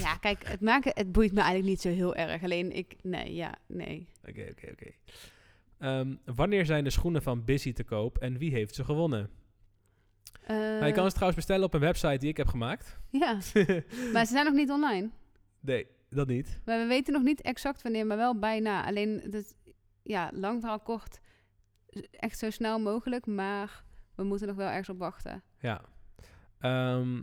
A: Ja, kijk, het, maken, het boeit me eigenlijk niet zo heel erg. Alleen ik... Nee, ja, nee.
B: Oké, oké, oké. Ehm, Wanneer zijn de schoenen van Busy te koop en wie heeft ze gewonnen? nou, je kan
A: Eh,
B: ze trouwens bestellen op een website die ik heb gemaakt.
A: Ja, maar ze zijn nog niet online.
B: nee, dat niet.
A: Maar we weten nog niet exact wanneer, maar wel bijna. Alleen, dat, ja, lang verhaal kort. Echt zo snel mogelijk, maar we moeten nog wel ergens op wachten.
B: Ja. Ehm,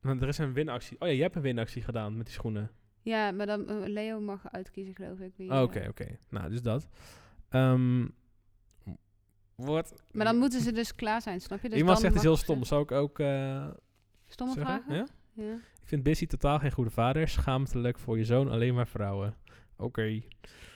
B: want er is een winactie. Oh ja, jij hebt een winactie gedaan met die schoenen.
A: Ja, maar dan eh, Leo mag uitkiezen, geloof ik. wie,
B: Oké,
A: eh,
B: oké. Nou, dus dat. Ehm wat?
A: Maar dan moeten ze dus klaar zijn, snap je? Dus
B: Iemand
A: dan
B: zegt het is
A: mag
B: heel
A: ze-
B: stom. Zou ik ook eh
A: Stomme
B: zeggen?
A: vragen?
B: Ja?
A: Ja.
B: Ik vind Busy totaal geen goede vader. Schaamtelijk voor je zoon, alleen maar vrouwen. Oké.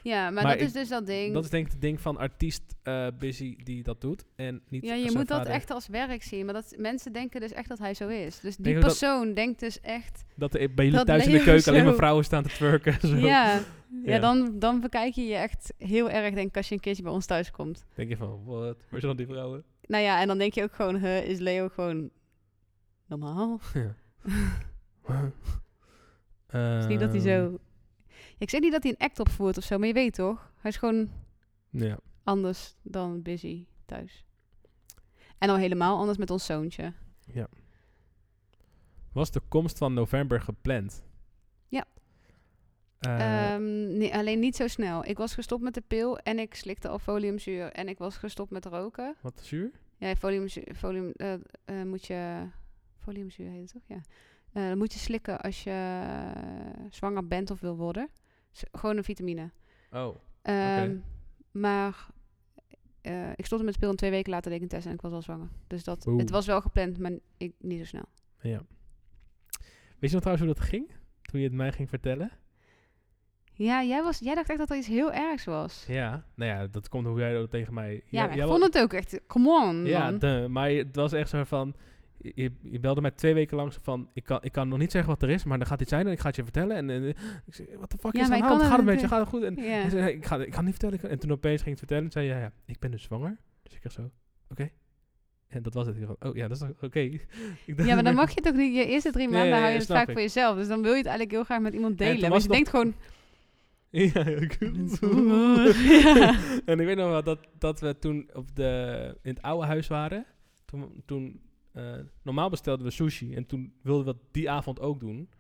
A: Ja, maar, dat
B: Maar ik-
A: is dus dat ding.
B: Dat is denk ik het ding van artiest eh, Busy die dat doet. En niet
A: ja, je
B: zijn
A: moet dat
B: vader.
A: echt als werk zien. Maar dat, mensen denken dus echt dat hij zo is. Dus die
B: Denk je dat-
A: persoon denkt dus echt...
B: Dat er bij jullie
A: dat
B: thuis in de
A: Leo
B: keuken alleen maar
A: zo-
B: vrouwen staan te twerken. Zo.
A: Ja, ja,
B: Ja.
A: dan, dan bekijk je je echt heel erg, denk ik, als je een keertje bij ons thuis komt.
B: Denk je van, wat? Waar zijn dan die vrouwen?
A: Nou ja, en dan denk je ook gewoon, huh, is Leo gewoon normaal? is niet dat hij
B: Ehm,
A: zo... Ik zeg niet dat hij een act opvoert of zo, maar je weet toch? Hij is gewoon
B: Ja.
A: anders dan Busy thuis. En al helemaal anders met ons zoontje.
B: Was de komst van november gepland?
A: Ja.
B: Eh,
A: Ehm, nee, alleen niet zo snel. Ik was gestopt met de pil en ik slikte al foliumzuur. En ik was gestopt met roken.
B: wat zuur?
A: Ja, foliumzuur folium, eh, eh, moet je... Foliumzuur heet het toch? Ja. Eh, dat moet je slikken als je eh, zwanger bent of wil worden. Dus gewoon een vitamine.
B: Oh.
A: Ehm, Maar eh, ik stopte met spelen en twee weken later deed ik een test en ik was al zwanger. Dus dat,
B: Oeh.
A: het was wel gepland, maar ik, niet zo snel.
B: Ja. Weet je nog trouwens hoe dat ging? Toen je het mij ging vertellen?
A: Ja, jij, was, jij dacht echt dat er iets heel ergs was. Ja,
B: Ja. Nou ja, dat komt hoe jij dat tegen mij... jij-
A: maar ik
B: jij
A: vond
B: wa-
A: het ook echt, come on
B: Ja,
A: man.
B: de, maar het was echt zo van... Je, je belde mij twee weken lang zo van... Ik kan, ik kan nog niet zeggen wat er is, maar er gaat iets zijn en ik ga het je vertellen. En, en eh, ik zei, wat de fuck
A: Ja,
B: is
A: maar ik
B: er aan de
A: kan
B: hand?
A: het
B: Gaat het
A: niet-
B: met je? Gaat het goed? En,
A: Ja.
B: Hij zei, nee, ik ga, ik ga het niet vertellen. ik ga- En toen opeens ging ik het vertellen. En zei ja, ja, ik ben dus zwanger. Dus ik zeg zo, oké. En dat was het. Ik dacht, oh ja, dat is toch- oké. Ik dacht-
A: ja, maar dan mag je toch niet, je eerste drie
B: Nee,
A: maanden
B: nee,
A: hou je
B: nee,
A: het
B: snap
A: vaak
B: ik.
A: voor jezelf. Dus dan wil je het eigenlijk heel graag met iemand
B: toen
A: delen.
B: was
A: Want je
B: het
A: denkt gewoon,
B: Ja, ik-
A: Ja.
B: En ik weet nog wel dat, dat we toen op de, in het oude huis waren. Toen, toen eh, normaal bestelden we sushi. En toen wilden we dat die avond ook doen.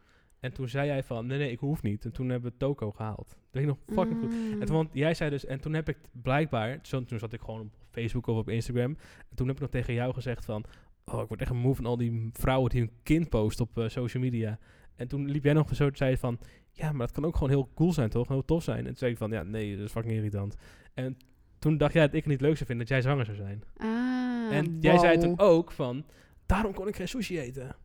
B: En toen zei jij van, nee, nee, ik hoef niet. En toen hebben we toko gehaald. Dat weet ik nog
A: Mm.
B: fucking goed. En toen, want jij zei dus, en toen heb ik t- blijkbaar, zo, toen zat ik gewoon op Facebook of op Instagram. En toen heb ik nog tegen jou gezegd van, oh, ik word echt een moe van al die vrouwen die hun kind posten op eh, social media. En toen liep jij nog zo en zei je van, ja, maar dat kan ook gewoon heel cool zijn, toch? Heel tof zijn. En toen zei ik van, ja, nee, dat is fucking irritant. En toen dacht jij dat ik het niet leuk zou vinden dat jij zwanger zou zijn.
A: Ah,
B: en jij zei
A: wow.
B: toen ook van, daarom kon ik geen sushi eten.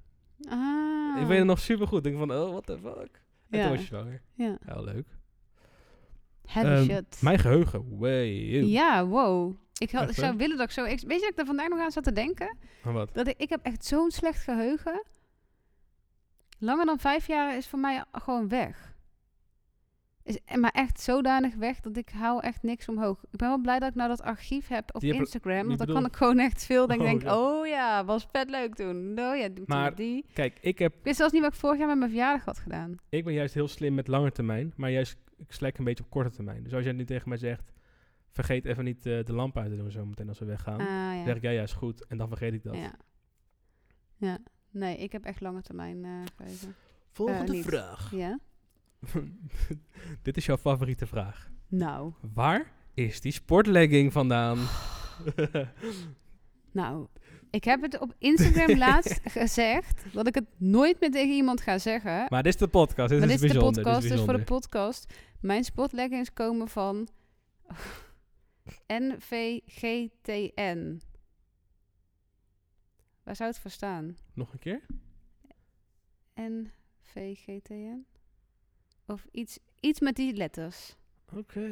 A: Ah.
B: oh, Ik weet het nog supergoed. Ik denk van, oh, what the fuck. En
A: Ja,
B: toen was je zwanger.
A: ja.
B: Ja, leuk.
A: Heavy
B: Ehm,
A: shit.
B: Mijn geheugen, way. up.
A: Ja, wow. Ik, had,
B: Echt,
A: ik
B: hè?
A: zou willen dat ik zo... Ik, weet je dat ik daar vandaag nog aan zat te denken?
B: Maar wat?
A: Dat ik, ik heb echt zo'n slecht geheugen. Langer dan vijf jaar is voor mij gewoon weg. Is, en maar echt zodanig weg dat ik hou echt niks omhoog. Ik ben wel blij dat ik nou dat archief heb op
B: Die heb-
A: Instagram.
B: die
A: Want dan
B: bedoel-
A: kan ik gewoon echt veel. Dan
B: Oh,
A: denk ik,
B: ja.
A: oh ja, was vet leuk toen. Oh ja, toen
B: Maar-
A: die.
B: Kijk, ik heb
A: Ik wist zelfs niet wat ik vorig jaar met mijn verjaardag had gedaan.
B: Ik ben juist heel slim met lange termijn, maar juist ik slek een beetje op korte termijn. Dus als jij nu tegen mij zegt, vergeet even niet eh, de lamp uit te doen zo meteen als we weggaan.
A: Ah
B: Dan
A: ja.
B: zeg ik, ja, ja, is goed. En dan vergeet ik Oh, dat.
A: ja. Ja. Nee, ik heb echt lange termijn eh, geheugen.
B: Volgende
A: Eh, niet.
B: vraag.
A: Ja?
B: Dit is jouw favoriete vraag.
A: Nou.
B: Waar is die sportlegging vandaan?
A: Nou, ik heb het op Instagram laatst gezegd dat ik het nooit meer tegen iemand ga zeggen. Maar,
B: maar dit is de podcast. Dit,
A: dit
B: is,
A: is de
B: bijzonder.
A: podcast,
B: dit
A: dus
B: is
A: voor de
B: bijzonder.
A: podcast. Mijn spotleggings komen van NVGTN. Waar zou het voor staan?
B: Nog een keer?
A: NVGTN? Of iets, iets met die letters.
B: Oké.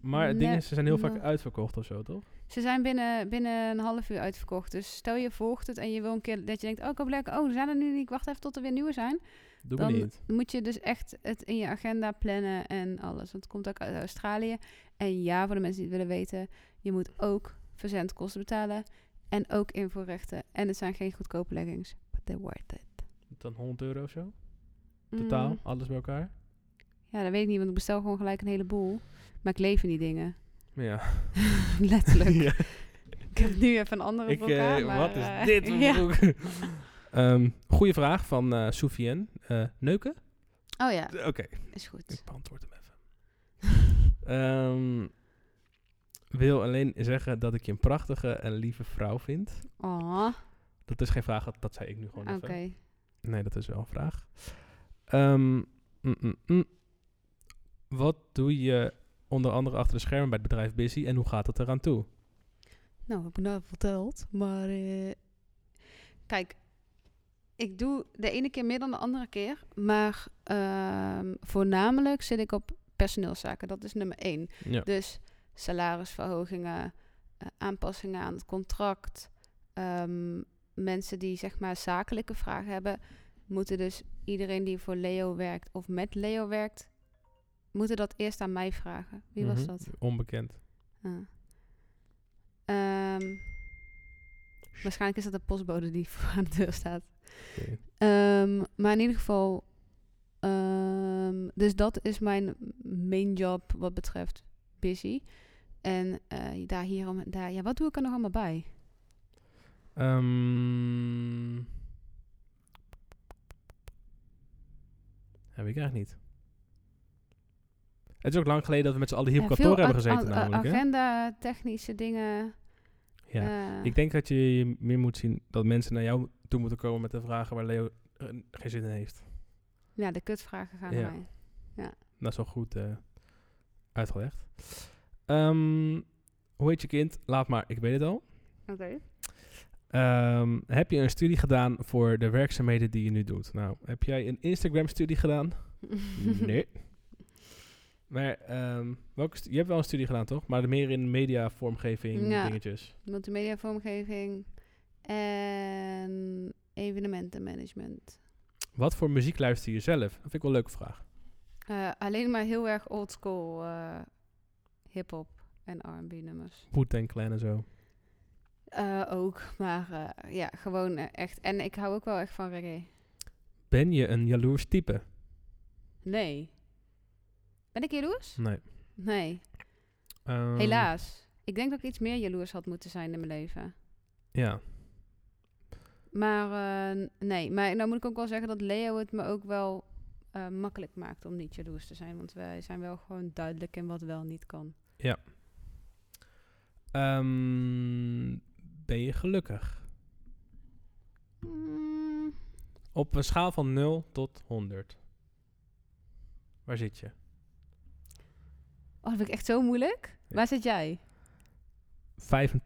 B: Maar het ding
A: Nee, nou.
B: is, ze zijn heel vaak
A: nee.
B: uitverkocht of zo, toch?
A: Ze zijn binnen, binnen een half uur uitverkocht. Dus stel je volgt het en je wil een keer dat je denkt... Oh, ik heb lekker... Oh, ze zijn er nu niet. Ik wacht even tot er weer nieuwe zijn.
B: Doe
A: Dan
B: me niet.
A: moet je dus echt het in je agenda plannen en alles. Want het komt ook uit Australië. En ja, voor de mensen die het willen weten... Je moet ook verzendkosten betalen. En ook invoerrechten. En het zijn geen goedkope leggings. But they're worth it.
B: Dan 100 euro of zo? Totaal,
A: Mm,
B: alles bij elkaar?
A: ja, dat weet ik niet. Want ik bestel gewoon gelijk een heleboel. Maar ik leef in die dingen.
B: Ja.
A: Letterlijk.
B: Ja.
A: Ik heb nu even een andere
B: Ik,
A: voor elkaar,
B: eh,
A: maar,
B: wat is
A: eh,
B: dit voor
A: ja.
B: broek? Ehm, goeie vraag van eh Soufiane. Eh, neuken?
A: Oh ja,
B: Eh, Oké,
A: is goed.
B: ik beantwoord hem even. Ehm, wil alleen zeggen dat ik je een prachtige en lieve vrouw vind.
A: Oh,
B: Dat is geen vraag, dat, dat zei ik nu gewoon
A: oké.
B: even. Nee, dat is wel een vraag. Ehm, mm, mm, mm. Wat doe je onder andere achter de schermen bij het bedrijf Busy en hoe gaat het eraan toe?
A: Nou, heb ik nou verteld. Maar eh, kijk, ik doe de ene keer meer dan de andere keer. Maar ehm, voornamelijk zit ik op personeelszaken. Dat is nummer één.
B: Ja.
A: Dus salarisverhogingen, eh, aanpassingen aan het contract. Ehm, mensen die zeg maar zakelijke vragen hebben, moeten dus iedereen die voor Leo werkt of met Leo werkt, moeten dat eerst aan mij vragen. Wie was
B: Mhm.
A: dat?
B: Onbekend.
A: Ah. Ehm, waarschijnlijk is dat de postbode die voor aan de deur staat.
B: Oké.
A: Ehm, maar in ieder geval, ehm, dus dat is mijn main job wat betreft busy. En eh, daar hierom, daar, ja, wat doe ik er nog allemaal bij?
B: Ehm, ja, weet ik eigenlijk niet. Het is ook lang geleden dat we met z'n allen hier op
A: Ja,
B: kantoor
A: veel
B: hebben
A: ag-
B: gezeten
A: ag-
B: namelijk. Hè?
A: Agenda, technische dingen.
B: Ja.
A: eh,
B: Ik denk dat je meer moet zien dat mensen naar jou toe moeten komen met de vragen waar Leo eh, geen zin in heeft.
A: ja, de kutvragen gaan
B: Ja.
A: naar mij.
B: Dat is wel goed eh, uitgelegd. Ehm, hoe heet je kind? Laat maar, ik weet het al.
A: Oké.
B: Ehm, heb je een studie gedaan voor de werkzaamheden die je nu doet? Nou, heb jij een Instagram-studie gedaan? Nee. Maar ehm, welke stu- je hebt wel een studie gedaan, toch? Maar meer in media, vormgeving,
A: Ja.
B: dingetjes.
A: Multimedia vormgeving en evenementenmanagement.
B: Wat voor muziek luister je zelf? Dat vind ik wel een leuke vraag.
A: Eh, alleen maar heel erg oldschool eh hip-hop en RB nummers.
B: Wu-Tang Clan en zo.
A: Eh, ook, maar eh, ja, gewoon eh, echt. En ik hou ook wel echt van reggae.
B: Ben je een jaloers type?
A: Nee. Ben ik jaloers?
B: Nee.
A: Nee,
B: Ehm,
A: helaas. Ik denk dat ik iets meer jaloers had moeten zijn in mijn leven.
B: Ja.
A: Maar eh, nee, maar nou moet ik ook wel zeggen dat Leo het me ook wel eh, makkelijk maakt om niet jaloers te zijn. Want wij zijn wel gewoon duidelijk in wat wel niet kan.
B: Ehm, ben je gelukkig?
A: Mm,
B: Op een schaal van 0 tot 100. Waar zit je?
A: Oh, dat vind ik echt zo moeilijk.
B: Ja.
A: Waar zit jij?
B: 85.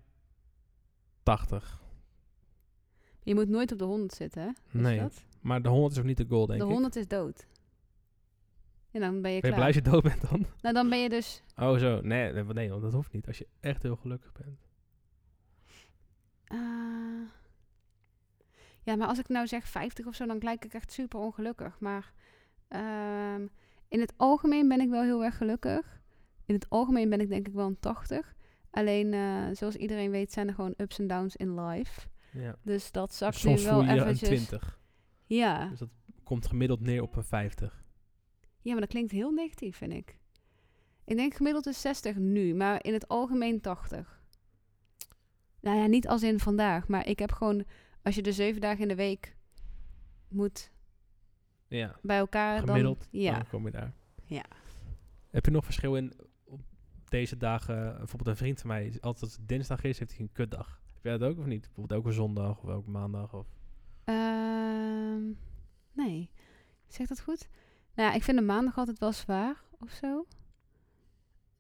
A: Je moet nooit op de 100 zitten, hè? Weet je
B: Nee.
A: dat?
B: Maar de 100 is ook niet de goal, denk
A: De
B: ik.
A: 100 is dood. En dan ben je
B: Ben
A: klaar.
B: je blij als je dood bent dan?
A: Nou, dan ben je dus...
B: Oh zo, nee, nee, nee, want dat hoeft niet. Als je echt heel gelukkig bent.
A: ah. ja, maar als ik nou zeg 50 of zo, dan lijk ik echt super ongelukkig. Maar ehm, in het algemeen ben ik wel heel erg gelukkig. In het algemeen ben ik denk ik wel een 80. Alleen, eh, zoals iedereen weet, zijn er gewoon ups en downs in life.
B: Ja.
A: Dus dat zakt
B: Soms
A: nu wel
B: voel je een
A: eventjes...
B: 20.
A: Ja.
B: Dus dat komt gemiddeld neer op een 50.
A: Ja, maar dat klinkt heel negatief, vind ik. Ik denk gemiddeld is 60 nu, maar in het algemeen 80. Nou ja, niet als in vandaag, maar ik heb gewoon... Als je de zeven dagen in de week moet
B: Ja.
A: bij elkaar...
B: Gemiddeld, Oh
A: Dan, ja.
B: Dan kom je daar.
A: Ja.
B: Heb je nog verschil in op deze dagen? Bijvoorbeeld een vriend van mij, is altijd als het dinsdag is, heeft hij een kutdag. Heb jij dat ook of niet? Bijvoorbeeld elke zondag of elke maandag of...
A: Ehm, nee. Zegt dat goed? Nou ja, ik vind de maandag altijd wel zwaar of zo.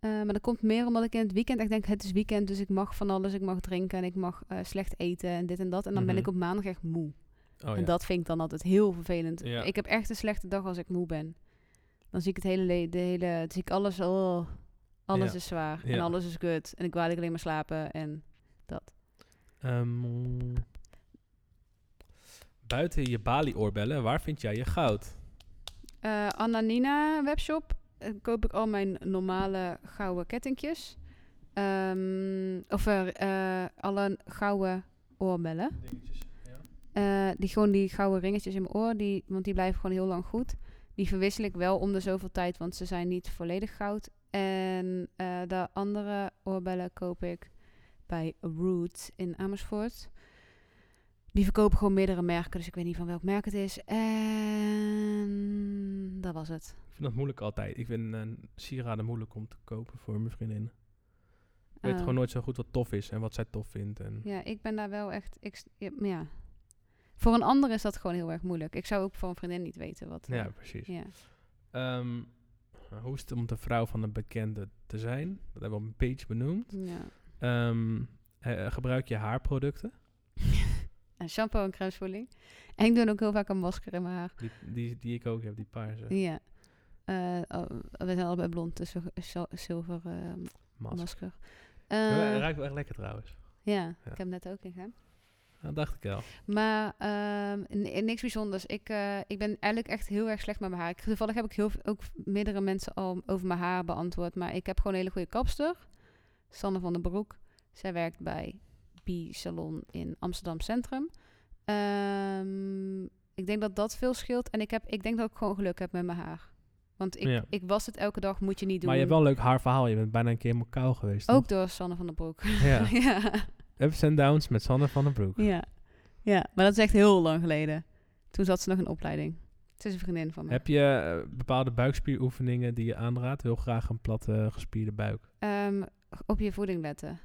A: Eh, maar dat komt meer omdat ik in het weekend echt denk, het is weekend, dus ik mag van alles. Ik mag drinken en ik mag eh, slecht eten en dit en dat. En dan ben
B: Mhm.
A: ik op maandag echt moe.
B: Oh,
A: en dat vind ik dan altijd heel vervelend.
B: Ja.
A: Ik heb echt een slechte dag als ik moe ben. dan zie ik het hele, le- de hele dan zie ik alles, oh, alles
B: Ja.
A: is zwaar en
B: Ja.
A: alles is kut en ik wil eigenlijk alleen maar slapen en dat.
B: Ehm, buiten je Bali-oorbellen, waar vind jij je goud?
A: Eh Ananina webshop eh, koop ik al mijn normale gouden kettingjes. Ehm, of eh, eh, alle gouden oorbellen. Eh, die gewoon die gouden ringetjes in mijn oor, die, want die blijven gewoon heel lang goed. Die verwissel ik wel om de zoveel tijd, want ze zijn niet volledig goud. En eh, de andere oorbellen koop ik bij Root in Amersfoort. Die verkopen gewoon meerdere merken, dus ik weet niet van welk merk het is. En dat was het.
B: Ik vind dat moeilijk altijd. Ik vind een sieraden moeilijk om te kopen voor mijn vriendin. Ik weet
A: Eh,
B: gewoon nooit zo goed wat tof is en wat zij tof vindt. En
A: Ja, ik ben daar wel echt. Ik, s- ja, maar ja. Voor een ander is dat gewoon heel erg moeilijk. Ik zou ook voor een vriendin niet weten wat. eh,
B: Ja, precies.
A: ja.
B: Ehm, hoe is het om de vrouw van een bekende te zijn? Dat hebben we al een beetje benoemd.
A: ja.
B: Ehm, eh, gebruik je haarproducten?
A: En shampoo en crèmevoeding. En ik doe ook heel vaak een masker in mijn haar.
B: Die, die, die ik ook heb, die paarse.
A: Ja. Eh, oh, we zijn allebei blond, dus we- sil- zilver eh,
B: Mas.
A: masker.
B: Ja,
A: Eh,
B: ruikt wel echt lekker trouwens.
A: ja,
B: Ja.
A: ik heb net ook ingegaan.
B: Dat dacht ik al.
A: Maar ehm, n- niks bijzonders. Ik, eh, ik ben eigenlijk echt heel erg slecht met mijn haar. Ik, toevallig heb ik heel, v- ook meerdere mensen al over mijn haar beantwoord. Maar ik heb gewoon een hele goede kapster. Sanne van den Broek. Zij werkt bij B-Salon in Amsterdam Centrum. Ehm, ik denk dat dat veel scheelt. En ik, heb, ik denk dat ik gewoon geluk heb met mijn haar. Want ik,
B: Ja.
A: ik was het elke dag, moet je niet doen.
B: Maar je hebt wel een leuk haarverhaal. Je bent bijna een keer in Macau geweest.
A: Ook door Sanne van den Broek.
B: toch? Ja.
A: ja.
B: Ups en downs met Sanne van den Broek.
A: Ja. ja, maar dat is echt heel lang geleden. Toen zat ze nog in opleiding. Het is een vriendin van me.
B: Heb je eh, bepaalde buikspieroefeningen die je aanraadt? Heel graag een platte gespierde buik.
A: Ehm, op je voeding letten.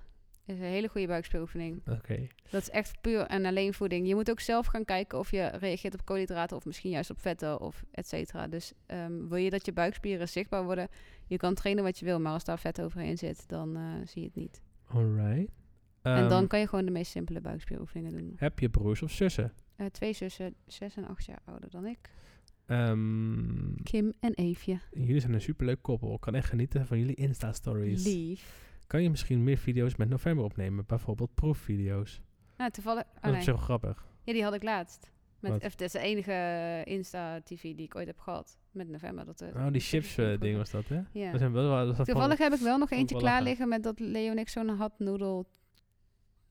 A: Dat is een hele goede buikspieroefening.
B: Oké.
A: Dat is echt puur en alleen voeding. Je moet ook zelf gaan kijken of je reageert op koolhydraten of misschien juist op vetten of et cetera. Dus ehm, wil je dat je buikspieren zichtbaar worden? Je kan trainen wat je wil, maar als daar vet overheen zit, dan eh, zie je het niet.
B: Alright.
A: en
B: Ehm,
A: dan kan je gewoon de meest simpele buikspieroefeningen doen.
B: Heb je broers of zussen?
A: Eh, twee zussen, zes en acht jaar ouder dan ik.
B: Ehm,
A: Kim en Eefje.
B: jullie zijn een superleuk koppel. Ik kan echt genieten van jullie Insta-stories.
A: Lief.
B: Kan je misschien meer video's met november opnemen? Bijvoorbeeld proefvideo's.
A: Nou, toevallig... oh,
B: dat is
A: nee.
B: op zich wel grappig.
A: Ja, die had ik laatst. Met,
B: Wat?
A: of, dat is de enige Insta-TV die ik ooit heb gehad. Met november. Dat, eh,
B: Oh, die chips eh, ding was dat, hè?
A: ja.
B: Dat zijn wel, dat is dat van-
A: Toevallig heb ik wel nog
B: ik
A: eentje
B: wel
A: klaar
B: lachen.
A: liggen met dat Leo en ik zo'n hot noodle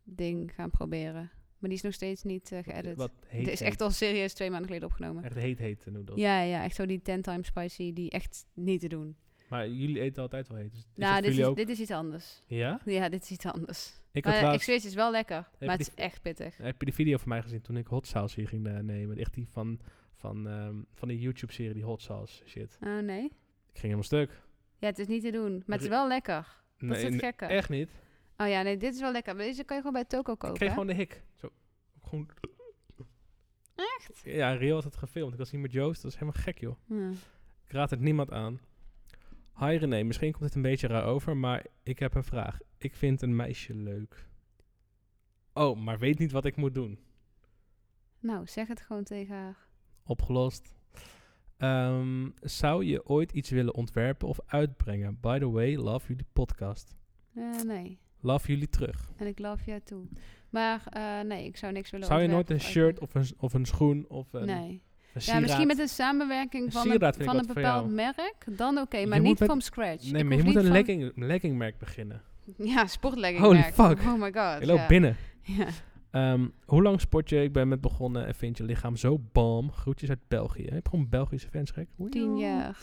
A: ding gaan proberen. Maar die is nog steeds niet eh, geëdit.
B: Wat heet,
A: Het is echt
B: heet.
A: al serieus twee maanden geleden opgenomen.
B: Echt heet heet noedels.
A: Ja, ja, echt zo die 10 times spicy, die echt niet te doen.
B: Maar jullie eten altijd wel heet. Dus is dat
A: nou,
B: voor
A: dit
B: jullie
A: is,
B: ook...
A: dit is iets anders.
B: Ja?
A: Ja, dit is iets anders.
B: Ik had
A: maar eh, ik
B: laatst-
A: zweer het, het is wel lekker,
B: je
A: maar het
B: die-
A: is echt pittig.
B: Heb je die video van mij gezien toen ik hot sauce hier ging eh, nemen? Echt die van, van, ehm, van die YouTube-serie, die hot sauce shit.
A: Oh nee?
B: Ik ging helemaal stuk.
A: Ja, het is niet te doen, maar het is
B: Re-
A: wel lekker. Dat
B: Nee,
A: is het
B: nee,
A: gekke.
B: Echt niet.
A: Oh ja, nee, dit is wel lekker. Maar Deze kan je gewoon bij Toko kopen.
B: Ik kreeg
A: hè?
B: gewoon de hik. Zo. Gewoon... Echt? Ja, Rio had het gefilmd. Ik was niet met Joost. Dat is helemaal gek, joh.
A: Ja.
B: Ik raad het niemand aan. Hi René, misschien komt het een beetje raar over, maar ik heb een vraag. Ik vind een meisje leuk. Oh, maar weet niet wat ik moet doen.
A: Nou, zeg het gewoon tegen haar.
B: Opgelost. Ehm, zou je ooit iets willen ontwerpen of uitbrengen? By the way, love jullie podcast.
A: Eh, nee.
B: Love jullie terug.
A: En ik love jou toe. Maar eh, nee, ik zou niks willen
B: Zou je nooit
A: ontwerpen
B: een shirt of een, of een schoen of een,
A: uitbrengen. Nee.
B: een
A: Ja, misschien
B: sieraad-
A: met een samenwerking
B: Een
A: van
B: sieraad
A: een,
B: vind ik
A: van een
B: wat voor jou.
A: bepaald merk. Dan oké, maar
B: moet
A: niet
B: met-
A: from scratch.
B: Nee,
A: Dus Ik
B: maar je
A: hoef
B: moet
A: niet
B: een
A: van-
B: legging, leggingmerk beginnen.
A: Ja, sportlegging.
B: Holy
A: merk.
B: fuck.
A: Oh my god.
B: Je loopt
A: ja.
B: binnen.
A: Ja.
B: Ehm, hoe lang sport je? Ik ben met begonnen en vind je lichaam zo bam. Groetjes uit België. Heb je gewoon Belgische fans gek? Oei,
A: Tien
B: joh.
A: jaar.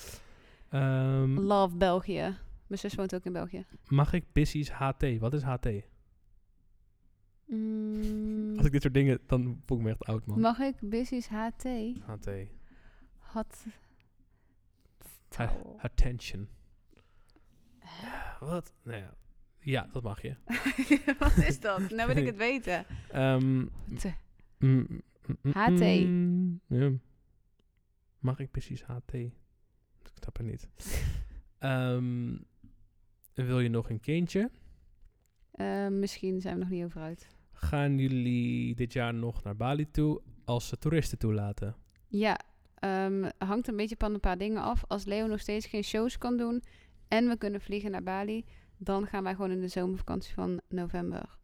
B: Ehm,
A: Love België. Mijn zus woont ook in België.
B: mag ik Bissies HT? Wat is HT?
A: Mm,
B: Als ik dit soort dingen, dan voel ik me echt oud, man.
A: mag ik Busy's HT?
B: HT.
A: Had.
B: Ha- Attention. Wat? Nou ja. ja, dat mag je.
A: Wat is dat? Nou wil ik het weten.
B: Ehm,
A: Te-
B: mm, mm, mm,
A: HT.
B: mm, ja. Mag ik precies HT? Ik snap het niet. Ehm, wil je nog een kindje?
A: Eh, misschien zijn we nog niet over uit.
B: Gaan jullie dit jaar nog naar Bali toe als ze toeristen toelaten?
A: Ja, Ehm, hangt een beetje van een paar dingen af. Als Leo nog steeds geen shows kan doen en we kunnen vliegen naar Bali, dan gaan wij gewoon in de zomervakantie van november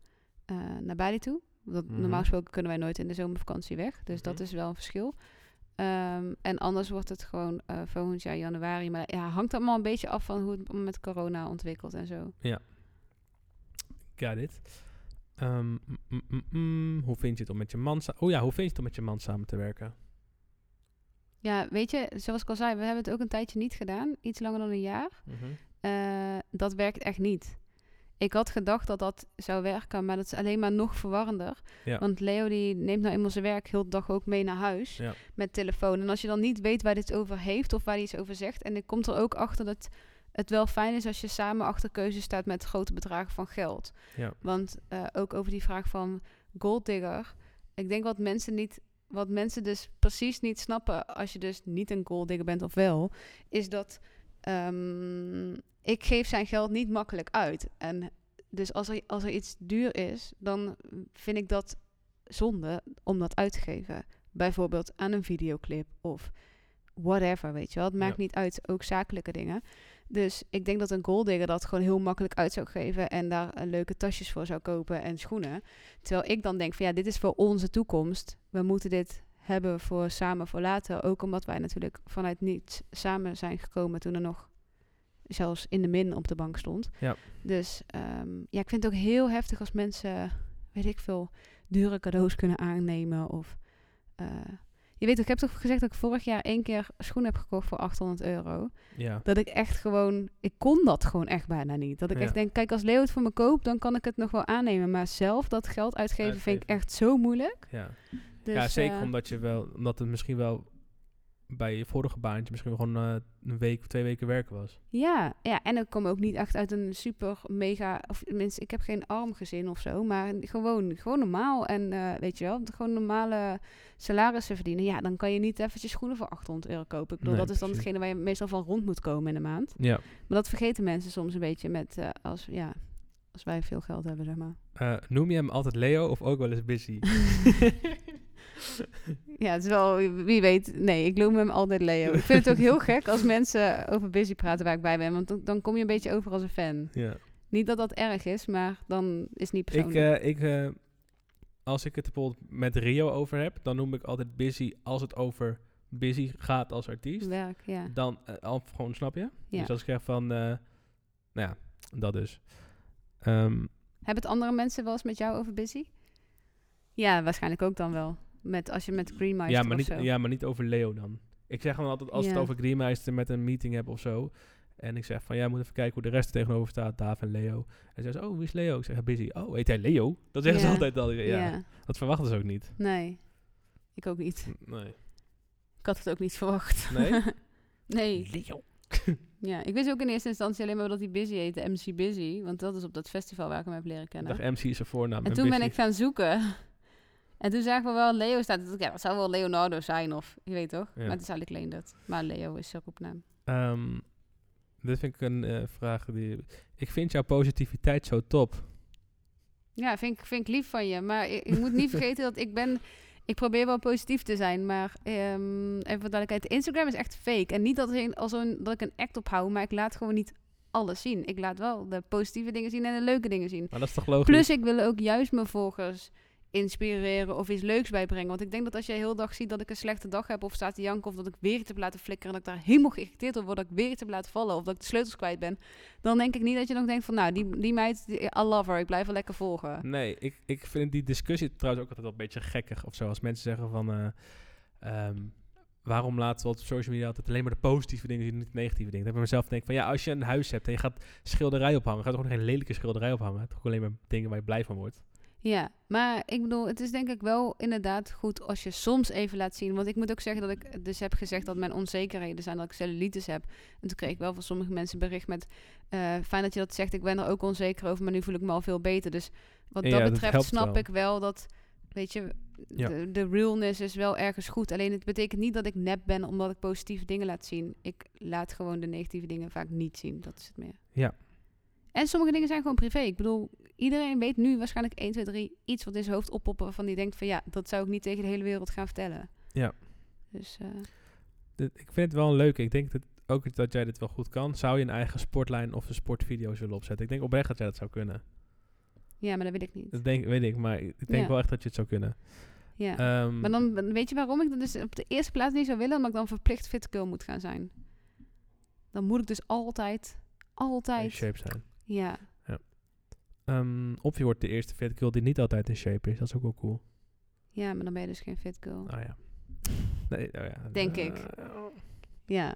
A: eh, naar Bali toe. Want
B: Mhm.
A: Normaal gesproken kunnen wij nooit in de zomervakantie weg, dus dat
B: Mhm.
A: is wel een verschil. Ehm, en anders wordt het gewoon eh, volgend jaar januari. Maar ja, hangt allemaal een beetje af van hoe het met corona ontwikkelt en zo.
B: Got it. Ehm, mm, mm, mm, mm. Hoe vind je het om met je man sa- Oh ja, hoe vind je het om met je man samen te werken?
A: Ja, weet je, zoals ik al zei, we hebben het ook een tijdje niet gedaan. Iets langer dan een jaar. Eh, dat werkt echt niet. Ik had gedacht dat dat zou werken, maar dat is alleen maar nog verwarrender.
B: Ja.
A: Want Leo die neemt nou eenmaal zijn werk heel de dag ook mee naar huis
B: Ja.
A: met telefoon. En als je dan niet weet waar dit over heeft of waar hij iets over zegt... en dan komt er ook achter dat het wel fijn is als je samen achter keuzes staat... met grote bedragen van geld.
B: Ja.
A: Want eh, ook over die vraag van golddigger... ik denk wat mensen niet... Wat mensen dus precies niet snappen als je dus niet een golddigger bent of wel, is dat ehm, ik geef zijn geld niet makkelijk uit. En dus als er, als er iets duur is, dan vind ik dat zonde om dat uit te geven. Bijvoorbeeld aan een videoclip of whatever, weet je wel. Het maakt
B: Ja.
A: niet uit, ook zakelijke dingen. Dus ik denk dat een golddigger dat gewoon heel makkelijk uit zou geven... en daar eh, leuke tasjes voor zou kopen en schoenen. Terwijl ik dan denk van ja, dit is voor onze toekomst. We moeten dit hebben voor samen voor later. Ook omdat wij natuurlijk vanuit niets samen zijn gekomen toen er nog zelfs in de min op de bank stond.
B: Ja.
A: Dus ehm, ja, ik vind het ook heel heftig als mensen, weet ik veel, dure cadeaus kunnen aannemen. Of eh, je weet, ik heb toch gezegd dat ik vorig jaar één keer schoenen heb gekocht voor 800 euro.
B: Ja.
A: Dat ik echt gewoon, ik kon dat gewoon echt bijna niet. Dat ik
B: Ja.
A: echt denk, kijk, als Leo het voor me koopt, dan kan ik het nog wel aannemen. Maar zelf dat geld uitgeven, vind ik
B: Uitgeven.
A: echt zo moeilijk.
B: Ja.
A: Dus,
B: ja, zeker
A: eh,
B: omdat je wel, omdat het misschien wel bij je vorige baantje misschien wel gewoon eh, een week of twee weken werken was.
A: Ja, ja, en ik kom ook niet echt uit een super mega, of tenminste, ik heb geen arm gezin of zo, maar gewoon, gewoon normaal. En eh, weet je wel, gewoon normale salarissen verdienen. Ja, dan kan je niet eventjes schoenen voor 800 euro kopen. Ik bedoel,
B: Nee,
A: dat is dan
B: precies.
A: hetgene waar je meestal van rond moet komen in de maand.
B: Ja.
A: Maar dat vergeten mensen soms een beetje met, eh, als, ja, als wij veel geld hebben, zeg maar.
B: Eh, noem je hem altijd Leo of ook wel eens Busy?
A: Ja, het is wel, wie weet. Nee, ik noem hem altijd Leo. Ik vind het ook heel gek als mensen over busy praten waar ik bij ben, want dan, dan kom je een beetje over als een fan.
B: ja.
A: Niet dat dat erg is, maar dan is het niet
B: Ik,
A: persoonlijk.
B: eh, ik, eh, als ik het bijvoorbeeld met Rio over heb, dan noem ik altijd Busy als het over Busy gaat als artiest.
A: werk, ja.
B: Dan eh, al gewoon, snap je?
A: Ja.
B: Dus als ik zeg van, eh, nou ja, dat dus. Ehm,
A: Hebben het andere mensen wel eens met jou over busy? Ja, waarschijnlijk ook dan wel. Met, als je met Green Meister
B: ja, maar niet,
A: of zo.
B: ja, maar niet over Leo dan. Ik zeg dan altijd, als we
A: Ja.
B: het over Griemeister met een meeting hebben of zo. En ik zeg van, ja, moet even kijken hoe de rest er tegenover staat, Daaf en Leo. En ze zeggen, oh, wie is Leo? Ik zeg, Busy. Oh, heet hij Leo? Dat zeggen
A: Ja.
B: ze altijd al. Ja,
A: Ja,
B: Dat verwachten ze ook niet.
A: nee. Ik ook niet.
B: Nee.
A: Ik had het ook niet verwacht.
B: Nee?
A: nee.
B: Leo.
A: Ja, ik wist ook in eerste instantie alleen maar dat hij busy heette, MC Busy. Want dat is op dat festival waar ik hem heb leren
B: Ik
A: kennen.
B: dacht, MC is Nou, zijn
A: nou.
B: voornaam.
A: En
B: en
A: toen ben
B: Busy.
A: ik gaan zoeken. En toen zagen we wel Leo staan. Toen dacht ik, Ja, dat zou wel Leonardo zijn of je weet toch?
B: Ja.
A: Maar het is eigenlijk Leendert. Maar Leo is zijn roepnaam.
B: Ehm, dit vind ik een eh, vraag die... Ik vind jouw positiviteit zo top.
A: Ja, vind ik, vind ik lief van je. Maar ik, ik moet niet vergeten dat ik ben... Ik probeer wel positief te zijn, maar ehm, even voor duidelijkheid. Instagram is echt fake. En niet dat, ik- als een, dat ik een act ophoud, maar ik laat gewoon niet alles zien. Ik laat wel de positieve dingen zien en de leuke dingen zien.
B: Maar dat is toch logisch?
A: Plus ik wil ook juist mijn volgers inspireren of iets leuks bijbrengen. Want ik denk dat als je heel de dag ziet dat ik een slechte dag heb... of staat te janken of dat ik weer iets heb laten flikkeren... en dat ik daar helemaal geïrriteerd door word, dat ik weer iets heb laten vallen... of dat ik de sleutels kwijt ben... dan denk ik niet dat je nog denkt van... nou, die, die meid, die, I love her, ik blijf wel lekker volgen.
B: Nee, ik, ik vind die discussie trouwens ook altijd wel een beetje gekkig of zo. Als mensen zeggen van... eh, ehm, waarom laten we op social media altijd alleen maar de positieve dingen zien... niet de negatieve dingen? Dan heb ik mezelf denk van... Ja, als je een huis hebt en je gaat schilderij ophangen... ga je toch gewoon geen lelijke schilderij ophangen? Toch alleen maar dingen waar je blij van wordt?
A: Ja, maar ik bedoel, het is denk ik wel inderdaad goed als je soms even laat zien. Want ik moet ook zeggen dat ik dus heb gezegd dat mijn onzekerheden zijn dat ik cellulitis heb. En toen kreeg ik wel van sommige mensen bericht met eh, fijn dat je dat zegt. Ik ben er ook onzeker over, maar nu voel ik me al veel beter. Dus wat
B: Ja,
A: dat
B: dat
A: betreft
B: helpt
A: snap
B: wel.
A: ik wel dat, weet je,
B: Ja.
A: de, de realness is wel ergens goed. Alleen het betekent niet dat ik nep ben omdat ik positieve dingen laat zien. Ik laat gewoon de negatieve dingen vaak niet zien. Dat is het meer.
B: Ja.
A: En sommige dingen zijn gewoon privé. Ik bedoel, iedereen weet nu waarschijnlijk 1, 2, 3 iets wat in zijn hoofd oppoppen waarvan die denkt van ja, dat zou ik niet tegen de hele wereld gaan vertellen.
B: Ja.
A: Dus eh,
B: dit- ik vind het wel een leuke. Ik denk dat ook dat jij dit wel goed kan. Zou je een eigen sportlijn of een sportvideo's willen opzetten? Ik denk oprecht dat jij dat zou kunnen.
A: Ja, maar dat wil ik niet.
B: Dat denk, weet ik, maar ik denk
A: Ja.
B: wel echt dat je het zou kunnen.
A: Ja.
B: Ehm,
A: maar dan dan weet je waarom ik dat dus op de eerste plaats niet zou willen, omdat ik dan verplicht fit girl moet gaan zijn. Dan moet ik dus altijd,
B: in
A: altijd.
B: shape zijn.
A: Ja,
B: Ehm, of je wordt de eerste fat girl die niet altijd in shape is. Dat is ook wel cool.
A: ja, maar dan ben je dus geen fit girl.
B: Oh ja. Nee, oh ja.
A: Denk
B: Eh,
A: ik. Ja.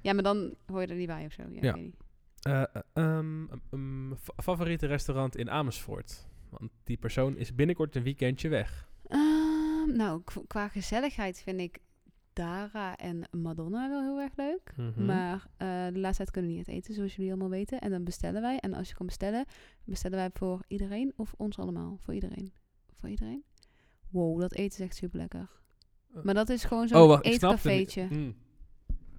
A: Ja, maar dan hoor je er niet bij of zo. Ja,
B: Ja.
A: Ik weet niet.
B: eh, ehm, ehm, fa- favoriete restaurant in Amersfoort? Want die persoon is binnenkort een weekendje weg.
A: Ehm, nou, k- qua gezelligheid vind ik Dara en Madonna wel heel erg leuk.
B: Mhm.
A: Maar eh, de laatste tijd kunnen we niet uit eten, zoals jullie allemaal weten. En dan bestellen wij. En als je kan bestellen, bestellen wij voor iedereen of ons allemaal. Voor iedereen. Voor iedereen. Wow, dat eten is echt super lekker. Maar dat is gewoon zo'n
B: oh, wacht, ik snap het niet.
A: eetcafeetje.
B: Mm.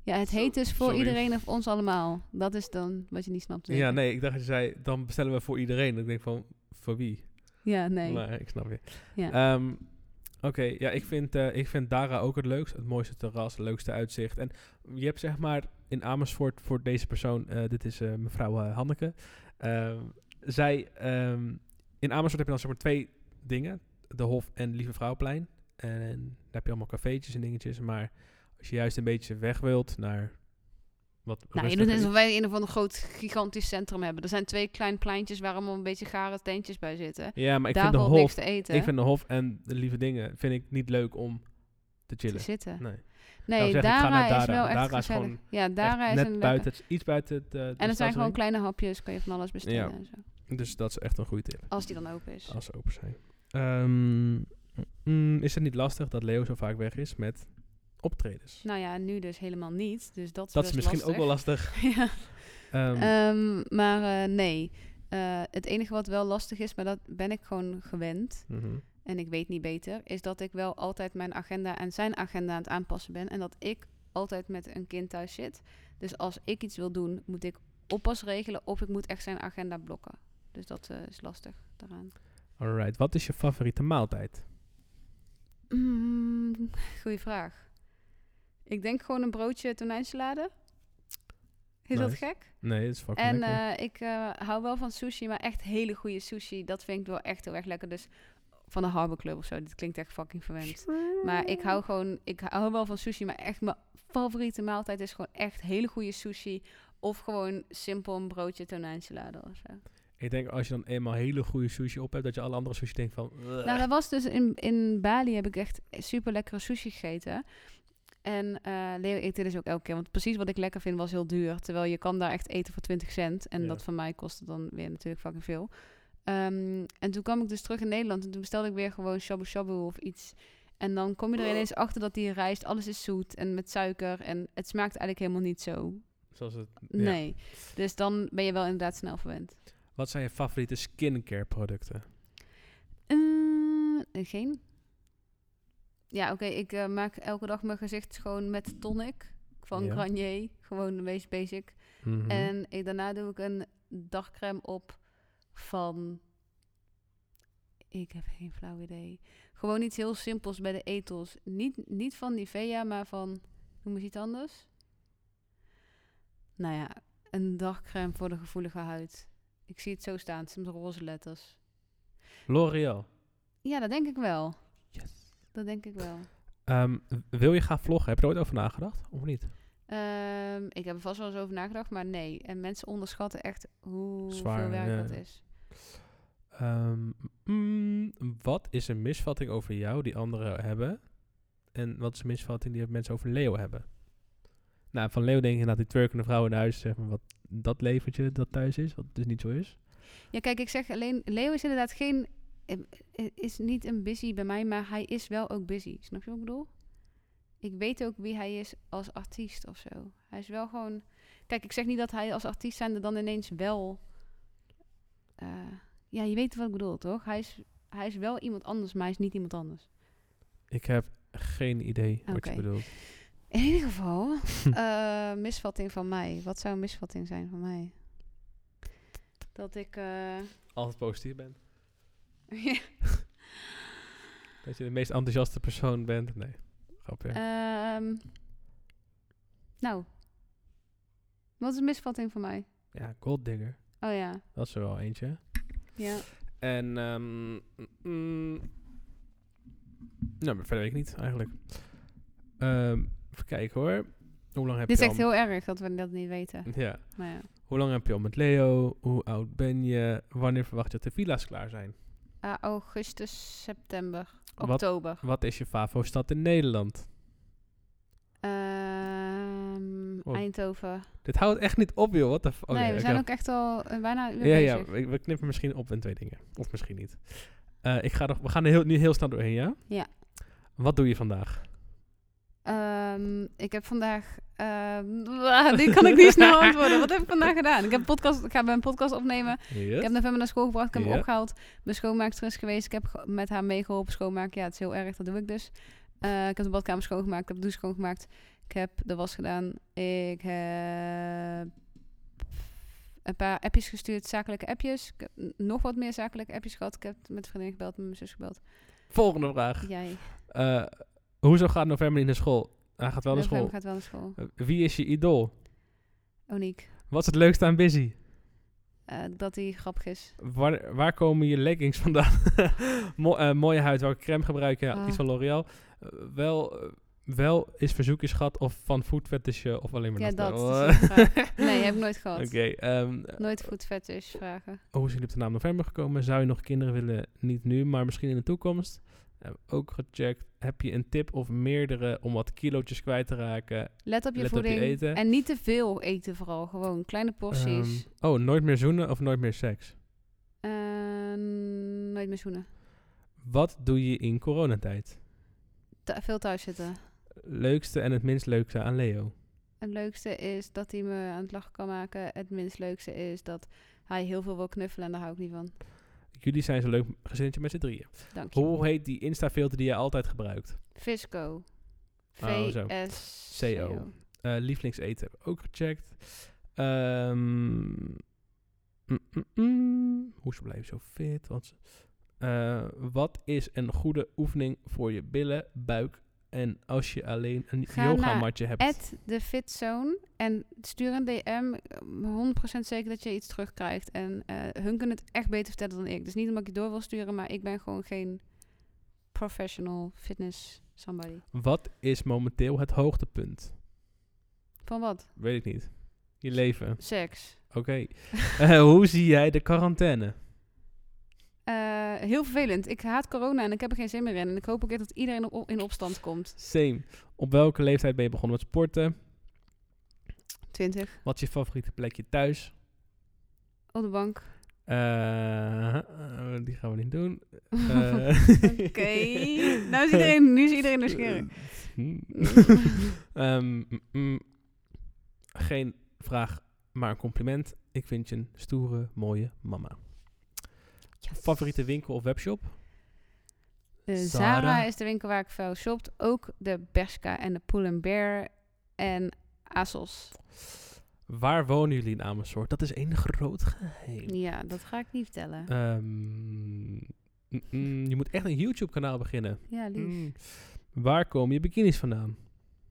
A: Ja, het heet dus voor
B: Sorry.
A: iedereen of ons allemaal. Dat is dan wat je niet snapt. zeker?
B: Ja, nee, ik dacht dat je zei, dan bestellen we voor iedereen. Ik denk van, voor wie?
A: Ja, nee.
B: Maar ik snap je.
A: Ja.
B: Ehm, Oké, ja, ik vind, eh, ik vind Dara ook het leukst. Het mooiste terras, het leukste uitzicht. En je hebt zeg maar in Amersfoort voor deze persoon, eh, dit is eh, mevrouw eh, Hanneke. Ehm, zij, ehm, in Amersfoort heb je dan zeg maar twee dingen. De Hof en Lieve Vrouwplein. En daar heb je allemaal cafeetjes en dingetjes. Maar als je juist een beetje weg wilt naar wat
A: Nou, je doet
B: rustiger
A: net
B: iets-
A: alsof wij een of ander groot gigantisch centrum hebben. Er zijn twee klein pleintjes waar allemaal een beetje gare tentjes bij zitten.
B: Ja, maar ik
A: Daar
B: vind de
A: valt niks
B: Hof
A: te eten.
B: Ik vind de Hof en de lieve dingen vind ik niet leuk om te
A: te
B: chillen.
A: zitten.
B: Nee.
A: Nee,
B: zeggen, ik ga
A: Dara,
B: naar
A: is
B: Dara.
A: wel echt
B: Dara is
A: gezellig.
B: gewoon
A: ja, Dara is
B: Echt net
A: een leuke-
B: buiten, het- iets buiten het. eh, de
A: En het zijn gewoon
B: stadsring.
A: kleine hapjes, kan je van alles bestellen
B: Ja.
A: en zo.
B: Dus dat is echt een goede tip
A: Als die dan open is.
B: als ze open zijn. Ehm, mm, is het niet lastig dat Leo zo vaak weg is met optredens?
A: Nou ja, nu dus helemaal niet. Dus dat is,
B: dat is
A: best
B: misschien ook wel
A: lastig.
B: lastig.
A: ja.
B: Ehm,
A: Ehm, maar eh, nee. Eh, het enige wat wel lastig is, maar dat ben ik gewoon gewend.
B: mhm.
A: en ik weet niet beter, is dat ik wel altijd mijn agenda en zijn agenda aan het aanpassen ben. En dat ik altijd met een kind thuis zit. Dus als ik iets wil doen, moet ik oppas regelen of ik moet echt zijn agenda blokken. Dus dat eh, is lastig daaraan.
B: Alright, wat is je favoriete maaltijd?
A: Mm, goeie vraag. Ik denk gewoon een broodje tonijnsalade. Is dat
B: Nice.
A: gek?
B: Nee, dat is fucking
A: En
B: lekker.
A: eh, ik eh, hou wel van sushi, maar echt hele goede sushi. Dat vind ik wel echt heel erg lekker. Dus van de Harbor Club of zo. Dit klinkt echt fucking verwend. Maar ik hou gewoon, ik hou wel van sushi. Maar echt mijn favoriete maaltijd is gewoon echt hele goede sushi. Of gewoon simpel een broodje tonijnsalade of zo.
B: ik denk als je dan eenmaal hele goede sushi op hebt, dat je alle andere sushi denkt van. eh, "Ugh."
A: Nou, dat was dus in, in Bali heb ik echt super lekkere sushi gegeten. En eh Leo eet dit dus ook elke keer. Want precies wat ik lekker vind was heel duur. Terwijl je kan daar echt eten voor 20 cent. En
B: Ja.
A: dat van mij kostte dan weer natuurlijk fucking veel. Ehm, en toen kwam ik dus terug in Nederland. En toen bestelde ik weer gewoon shabu shabu of iets. En dan kom je er ineens
B: Oh.
A: achter dat die rijst, alles is zoet en met suiker. En het smaakt eigenlijk helemaal niet zo.
B: Zoals het, ja.
A: Nee. Dus dan ben je wel inderdaad snel verwend.
B: Wat zijn je favoriete skincare producten?
A: Eh, geen. Ja, oké. ik eh, maak elke dag mijn gezicht schoon met tonic van
B: Ja.
A: Garnier. Gewoon de meest basic.
B: Mhm.
A: En ik- daarna doe ik een dagcrème op van... Ik heb geen flauw idee. Gewoon iets heel simpels bij de etels. Niet, niet van Nivea, maar van... Noem eens iets anders. Nou ja, een dagcrème voor de gevoelige huid. Ik zie het zo staan. Het is met roze letters.
B: L'Oreal.
A: Ja, dat denk ik wel.
B: Yes.
A: Dat denk ik wel.
B: Ehm, w- wil je gaan vloggen? Heb je er ooit over nagedacht? Of niet?
A: Ehm, ik heb er vast wel eens over nagedacht, maar nee. En mensen onderschatten echt hoeveel
B: Zwaar,
A: werk
B: ja.
A: dat is.
B: Ehm, mm, wat is een misvatting over jou die anderen hebben? En wat is een misvatting die mensen over Leo hebben? Nou, van Leo denk je inderdaad die twerkende vrouw in huis, zeg maar, wat dat leventje dat thuis is, wat dus niet zo is.
A: Ja, kijk, ik zeg alleen, Leo is inderdaad geen... eh, eh, Is niet een busy bij mij, maar hij is wel ook busy. Snap je wat ik bedoel? Ik weet ook wie hij is als artiest of zo. Hij is wel gewoon... Kijk, ik zeg niet dat hij als artiest zijnde dan ineens wel... eh, ja, je weet wat ik bedoel, toch? Hij is, hij is wel iemand anders, maar hij is niet iemand anders.
B: Ik heb geen idee wat je
A: Oké.
B: bedoelt.
A: In ieder geval, eh, misvatting van mij. Wat zou een misvatting zijn van mij? Dat ik. eh,
B: Altijd positief bent.
A: ja, Eh.
B: Dat je de meest enthousiaste persoon bent. Nee, grapje.
A: ehm, Nou, wat is een misvatting van mij?
B: Ja, Golddigger.
A: Oh ja,
B: Dat is er wel eentje.
A: ja.
B: En, ehm mm, nou, maar verder weet ik niet eigenlijk. Ehm, even kijken hoor. Hoe lang heb
A: Dit
B: je
A: is echt
B: al...
A: heel erg dat we dat niet weten.
B: Ja.
A: Maar ja.
B: Hoe lang heb je al met Leo? Hoe oud ben je? Wanneer verwacht je dat de villa's klaar zijn?
A: Ah, augustus, september,
B: Wat-
A: oktober.
B: Wat is je favo-stad in Nederland?
A: Ehm,
B: Oh.
A: Eindhoven.
B: Dit houdt echt niet op, joh. Wat de fuck?
A: nee, we zijn ook echt al eh, bijna een uur
B: Ja, ja,
A: bezig.
B: we, we knippen misschien op in twee dingen. Of misschien niet. Eh, ik ga nog, we gaan er heel, nu heel snel doorheen, ja?
A: Ja.
B: Wat doe je vandaag?
A: Ehm, ik heb vandaag. ehm, die kan ik niet snel antwoorden. Wat heb ik vandaag gedaan? Ik, heb een podcast, ik ga een podcast opnemen. Ik heb november naar school gebracht. Ik heb
B: Ja.
A: hem opgehaald. Mijn schoonmaakster is geweest. Ik heb ge- met haar meegeholpen schoonmaken. Ja, het is heel erg. Dat doe ik dus. Eh, ik heb de badkamer schoongemaakt. Ik heb de douche schoongemaakt. Ik heb de was gedaan. Ik heb een paar appjes gestuurd. Zakelijke appjes. Ik heb n- nog wat meer zakelijke appjes gehad. Ik heb met een vriendin gebeld. Met mijn zus gebeld.
B: Volgende vraag.
A: Jij.
B: Eh, hoezo gaat november niet naar school? Hij gaat wel naar
A: November
B: school.
A: gaat wel naar school.
B: Eh, Wie is je idool?
A: Oniek.
B: Wat is het leukste aan Busy?
A: eh, dat hij grappig is.
B: Waar, waar komen je leggings vandaan? Mo- eh, mooie huid, welke crème gebruik je? Ja,
A: Ah.
B: Iets van L'Oreal. Eh, wel, eh, wel is verzoekjes gehad of van food fetish eh, of alleen maar
A: Ja,
B: nafta?
A: dat.
B: Oh,
A: dat is een vraag. nee, heb ik nooit gehad.
B: Oké, ehm,
A: Nooit goed vet is vragen.
B: hoe is jullie op de naam november gekomen? Zou je nog kinderen willen? Niet nu, maar misschien in de toekomst. Heb ook gecheckt. Heb je een tip of meerdere om wat kilootjes kwijt te raken?
A: Let op je
B: Let op je
A: voeding.
B: eten.
A: En niet te veel eten vooral. Gewoon kleine porties.
B: Ehm, oh, nooit meer zoenen of nooit meer seks?
A: Ehm, nooit meer zoenen.
B: Wat doe je in coronatijd?
A: Thu- veel thuis zitten.
B: Leukste en het minst leukste aan Leo.
A: Het leukste is dat hij me aan het lachen kan maken. Het minst leukste is dat hij heel veel wil knuffelen en daar hou ik niet van.
B: Jullie zijn zo'n leuk gezinnetje met z'n drieën.
A: Dank je.
B: Hoe heet die Insta-filter die jij altijd gebruikt?
A: Visco.
B: Oh, zo.
A: V-S-C-O.
B: CO. Eh, lievelingseten heb ik ook gecheckt. Ehm, mm, mm, mm. Hoe ze blijven zo fit. Wat, ze- Eh, wat is een goede oefening voor je billen, buik en als je alleen een
A: Ga naar
B: yoga-matje hebt?
A: At de Fitzone en stuur een DM. eh, 100% zeker dat je iets terugkrijgt. En eh, hun kunnen het echt beter vertellen dan ik. Dus niet omdat ik je door wil sturen, maar ik ben gewoon geen professional fitness somebody.
B: Wat is momenteel het hoogtepunt?
A: Van wat?
B: Weet ik niet. Je leven.
A: Seks.
B: Oké. Eh, hoe zie jij de quarantaine?
A: Eh, heel vervelend. Ik haat corona en ik heb er geen zin meer in. En ik hoop ook echt dat iedereen op- in opstand komt.
B: Same. Op welke leeftijd ben je begonnen met sporten?
A: 20.
B: Wat is je favoriete plekje thuis?
A: Op de bank.
B: Eh, eh, die gaan we niet doen. Eh,
A: Oké. nou is iedereen, nu is iedereen nieuwsgierig.
B: Hmm. Ehm, mm, mm. geen vraag, maar een compliment. Ik vind je een stoere, mooie mama.
A: Yes.
B: Favoriete winkel of webshop?
A: Eh, Zara.
B: Zara.
A: is de winkel waar ik veel shopt. Ook de Bershka en de Pull Bear en ASOS.
B: Waar wonen jullie in Amersfoort? Dat is één groot geheim.
A: Ja, dat ga ik niet vertellen.
B: Ehm, mm, mm, je moet echt een YouTube-kanaal beginnen.
A: ja, lief.
B: Mm. Waar komen je bikinis vandaan?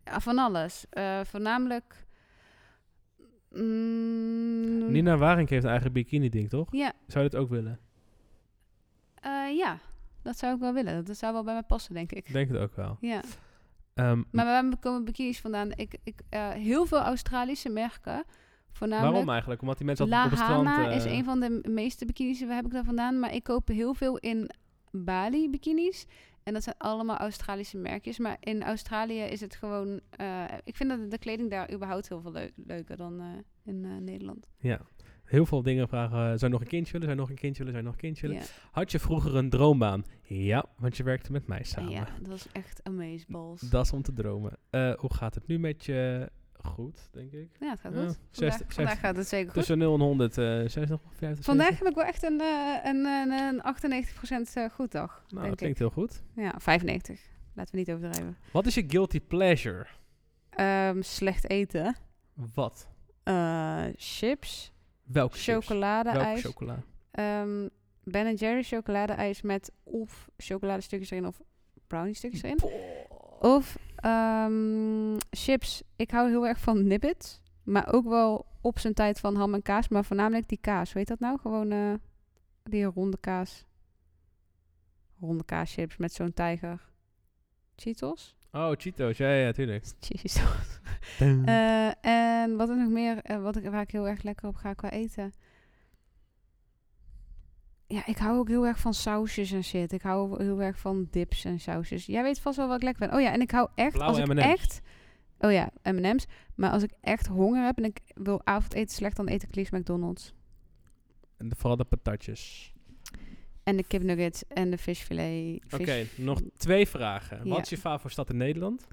A: Ja, van alles. Eh, voornamelijk... Mm,
B: Nina Waring heeft een eigen bikini-ding, toch?
A: Ja.
B: Zou je dat ook willen?
A: Eh, ja, dat zou ik wel willen. Dat zou wel bij mij passen, denk ik.
B: Ik denk het ook wel.
A: Ja.
B: Ehm,
A: Maar waar komen bikinis vandaan? Ik, ik, eh, heel veel Australische merken. Voornamelijk
B: waarom eigenlijk? Omdat die mensen altijd
A: La
B: op het strand...
A: Hana is
B: eh,
A: een van de m- meeste bikinis die we heb ik daar vandaan. Maar ik koop heel veel in Bali bikinis. En dat zijn allemaal Australische merkjes. Maar in Australië is het gewoon... eh, ik vind dat de kleding daar überhaupt heel veel leu- leuker dan eh, in eh, Nederland.
B: Ja. Heel veel dingen vragen. eh, zou je nog een kindje willen? Zou je nog een kindje willen? Zou je nog een kindje willen?
A: Ja.
B: Had je vroeger een droombaan? Ja, want je werkte met mij samen. Mm.
A: ja, dat is echt amazeballs.
B: Dat is om te dromen. Eh, hoe gaat het nu met je? Goed, denk ik.
A: ja, het gaat
B: Ja, Dus
A: goed.
B: zestig-
A: vandaag,
B: zestig.
A: vandaag gaat het zeker goed.
B: Tussen 0 en 100, eh 60 of 50?
A: vandaag heb ik wel echt een, eh, een, een, een 98% eh, goed dag,
B: Nou, dat
A: denk ik.
B: klinkt heel goed.
A: Ja, 95. Laten we niet overdrijven.
B: Wat is je guilty pleasure?
A: Ehm, slecht eten.
B: Wat?
A: Eh, chips.
B: Welke chips? Welke
A: Chocoladeijs.
B: chocola?
A: Ehm ben Jerry chocoladeijs met of chocoladestukjes erin of brownie stukjes erin.
B: Boah.
A: Of Ehm, chips. Ik hou heel erg van nibbits. Maar ook wel op zijn tijd van ham en kaas. Maar voornamelijk die kaas. Hoe heet dat nou? Gewoon eh, die ronde kaas. Ronde kaaschips met zo'n tijger. Cheetos?
B: Oh, Cheetos. Ja, ja, ja, tuurlijk.
A: Cheetos. Eh, en wat er nog meer, eh, wat ik, waar ik heel erg lekker op ga qua eten. Ja, ik hou ook heel erg van sausjes en shit. Ik hou heel erg van dips en sausjes. Jij weet vast wel wat ik lekker ben. Oh ja, en ik hou echt,
B: Blauwe
A: als ik
B: M&M's.
A: echt... Oh ja, M&M's. Maar als ik echt honger heb en ik wil avondeten slecht, dan eet ik liefst McDonald's.
B: En de- vooral de patatjes.
A: En de kipnuggets en de visfilet.
B: Oké,
A: Fish-
B: nog twee vragen.
A: Ja.
B: Wat is je favoriete stad in Nederland?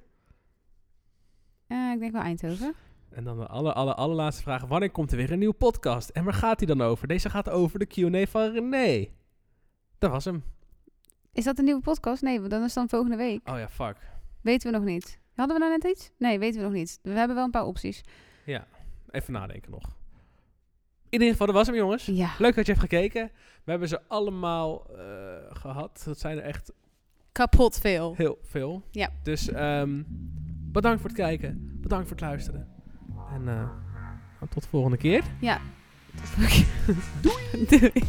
A: Eh, ik denk wel Eindhoven.
B: En dan de aller, aller, allerlaatste vraag. Wanneer komt er weer een nieuwe podcast? En waar gaat die dan over? Deze gaat over de Q&A van René. Dat was hem.
A: Is dat een nieuwe podcast? Nee, want dan is het dan volgende week.
B: Oh ja, fuck.
A: Weten we nog niet. Hadden we nou net iets? Nee, weten we nog niet. We hebben wel een paar opties.
B: Even nadenken nog. In ieder geval, dat was hem jongens.
A: Ja.
B: Leuk dat je hebt gekeken. We hebben ze allemaal eh, gehad. Dat zijn er echt
A: Kapot veel.
B: heel veel.
A: Ja.
B: Dus ehm, bedankt voor het kijken. Bedankt voor het luisteren. En eh, tot de volgende keer.
A: Ja. Doei. Doei.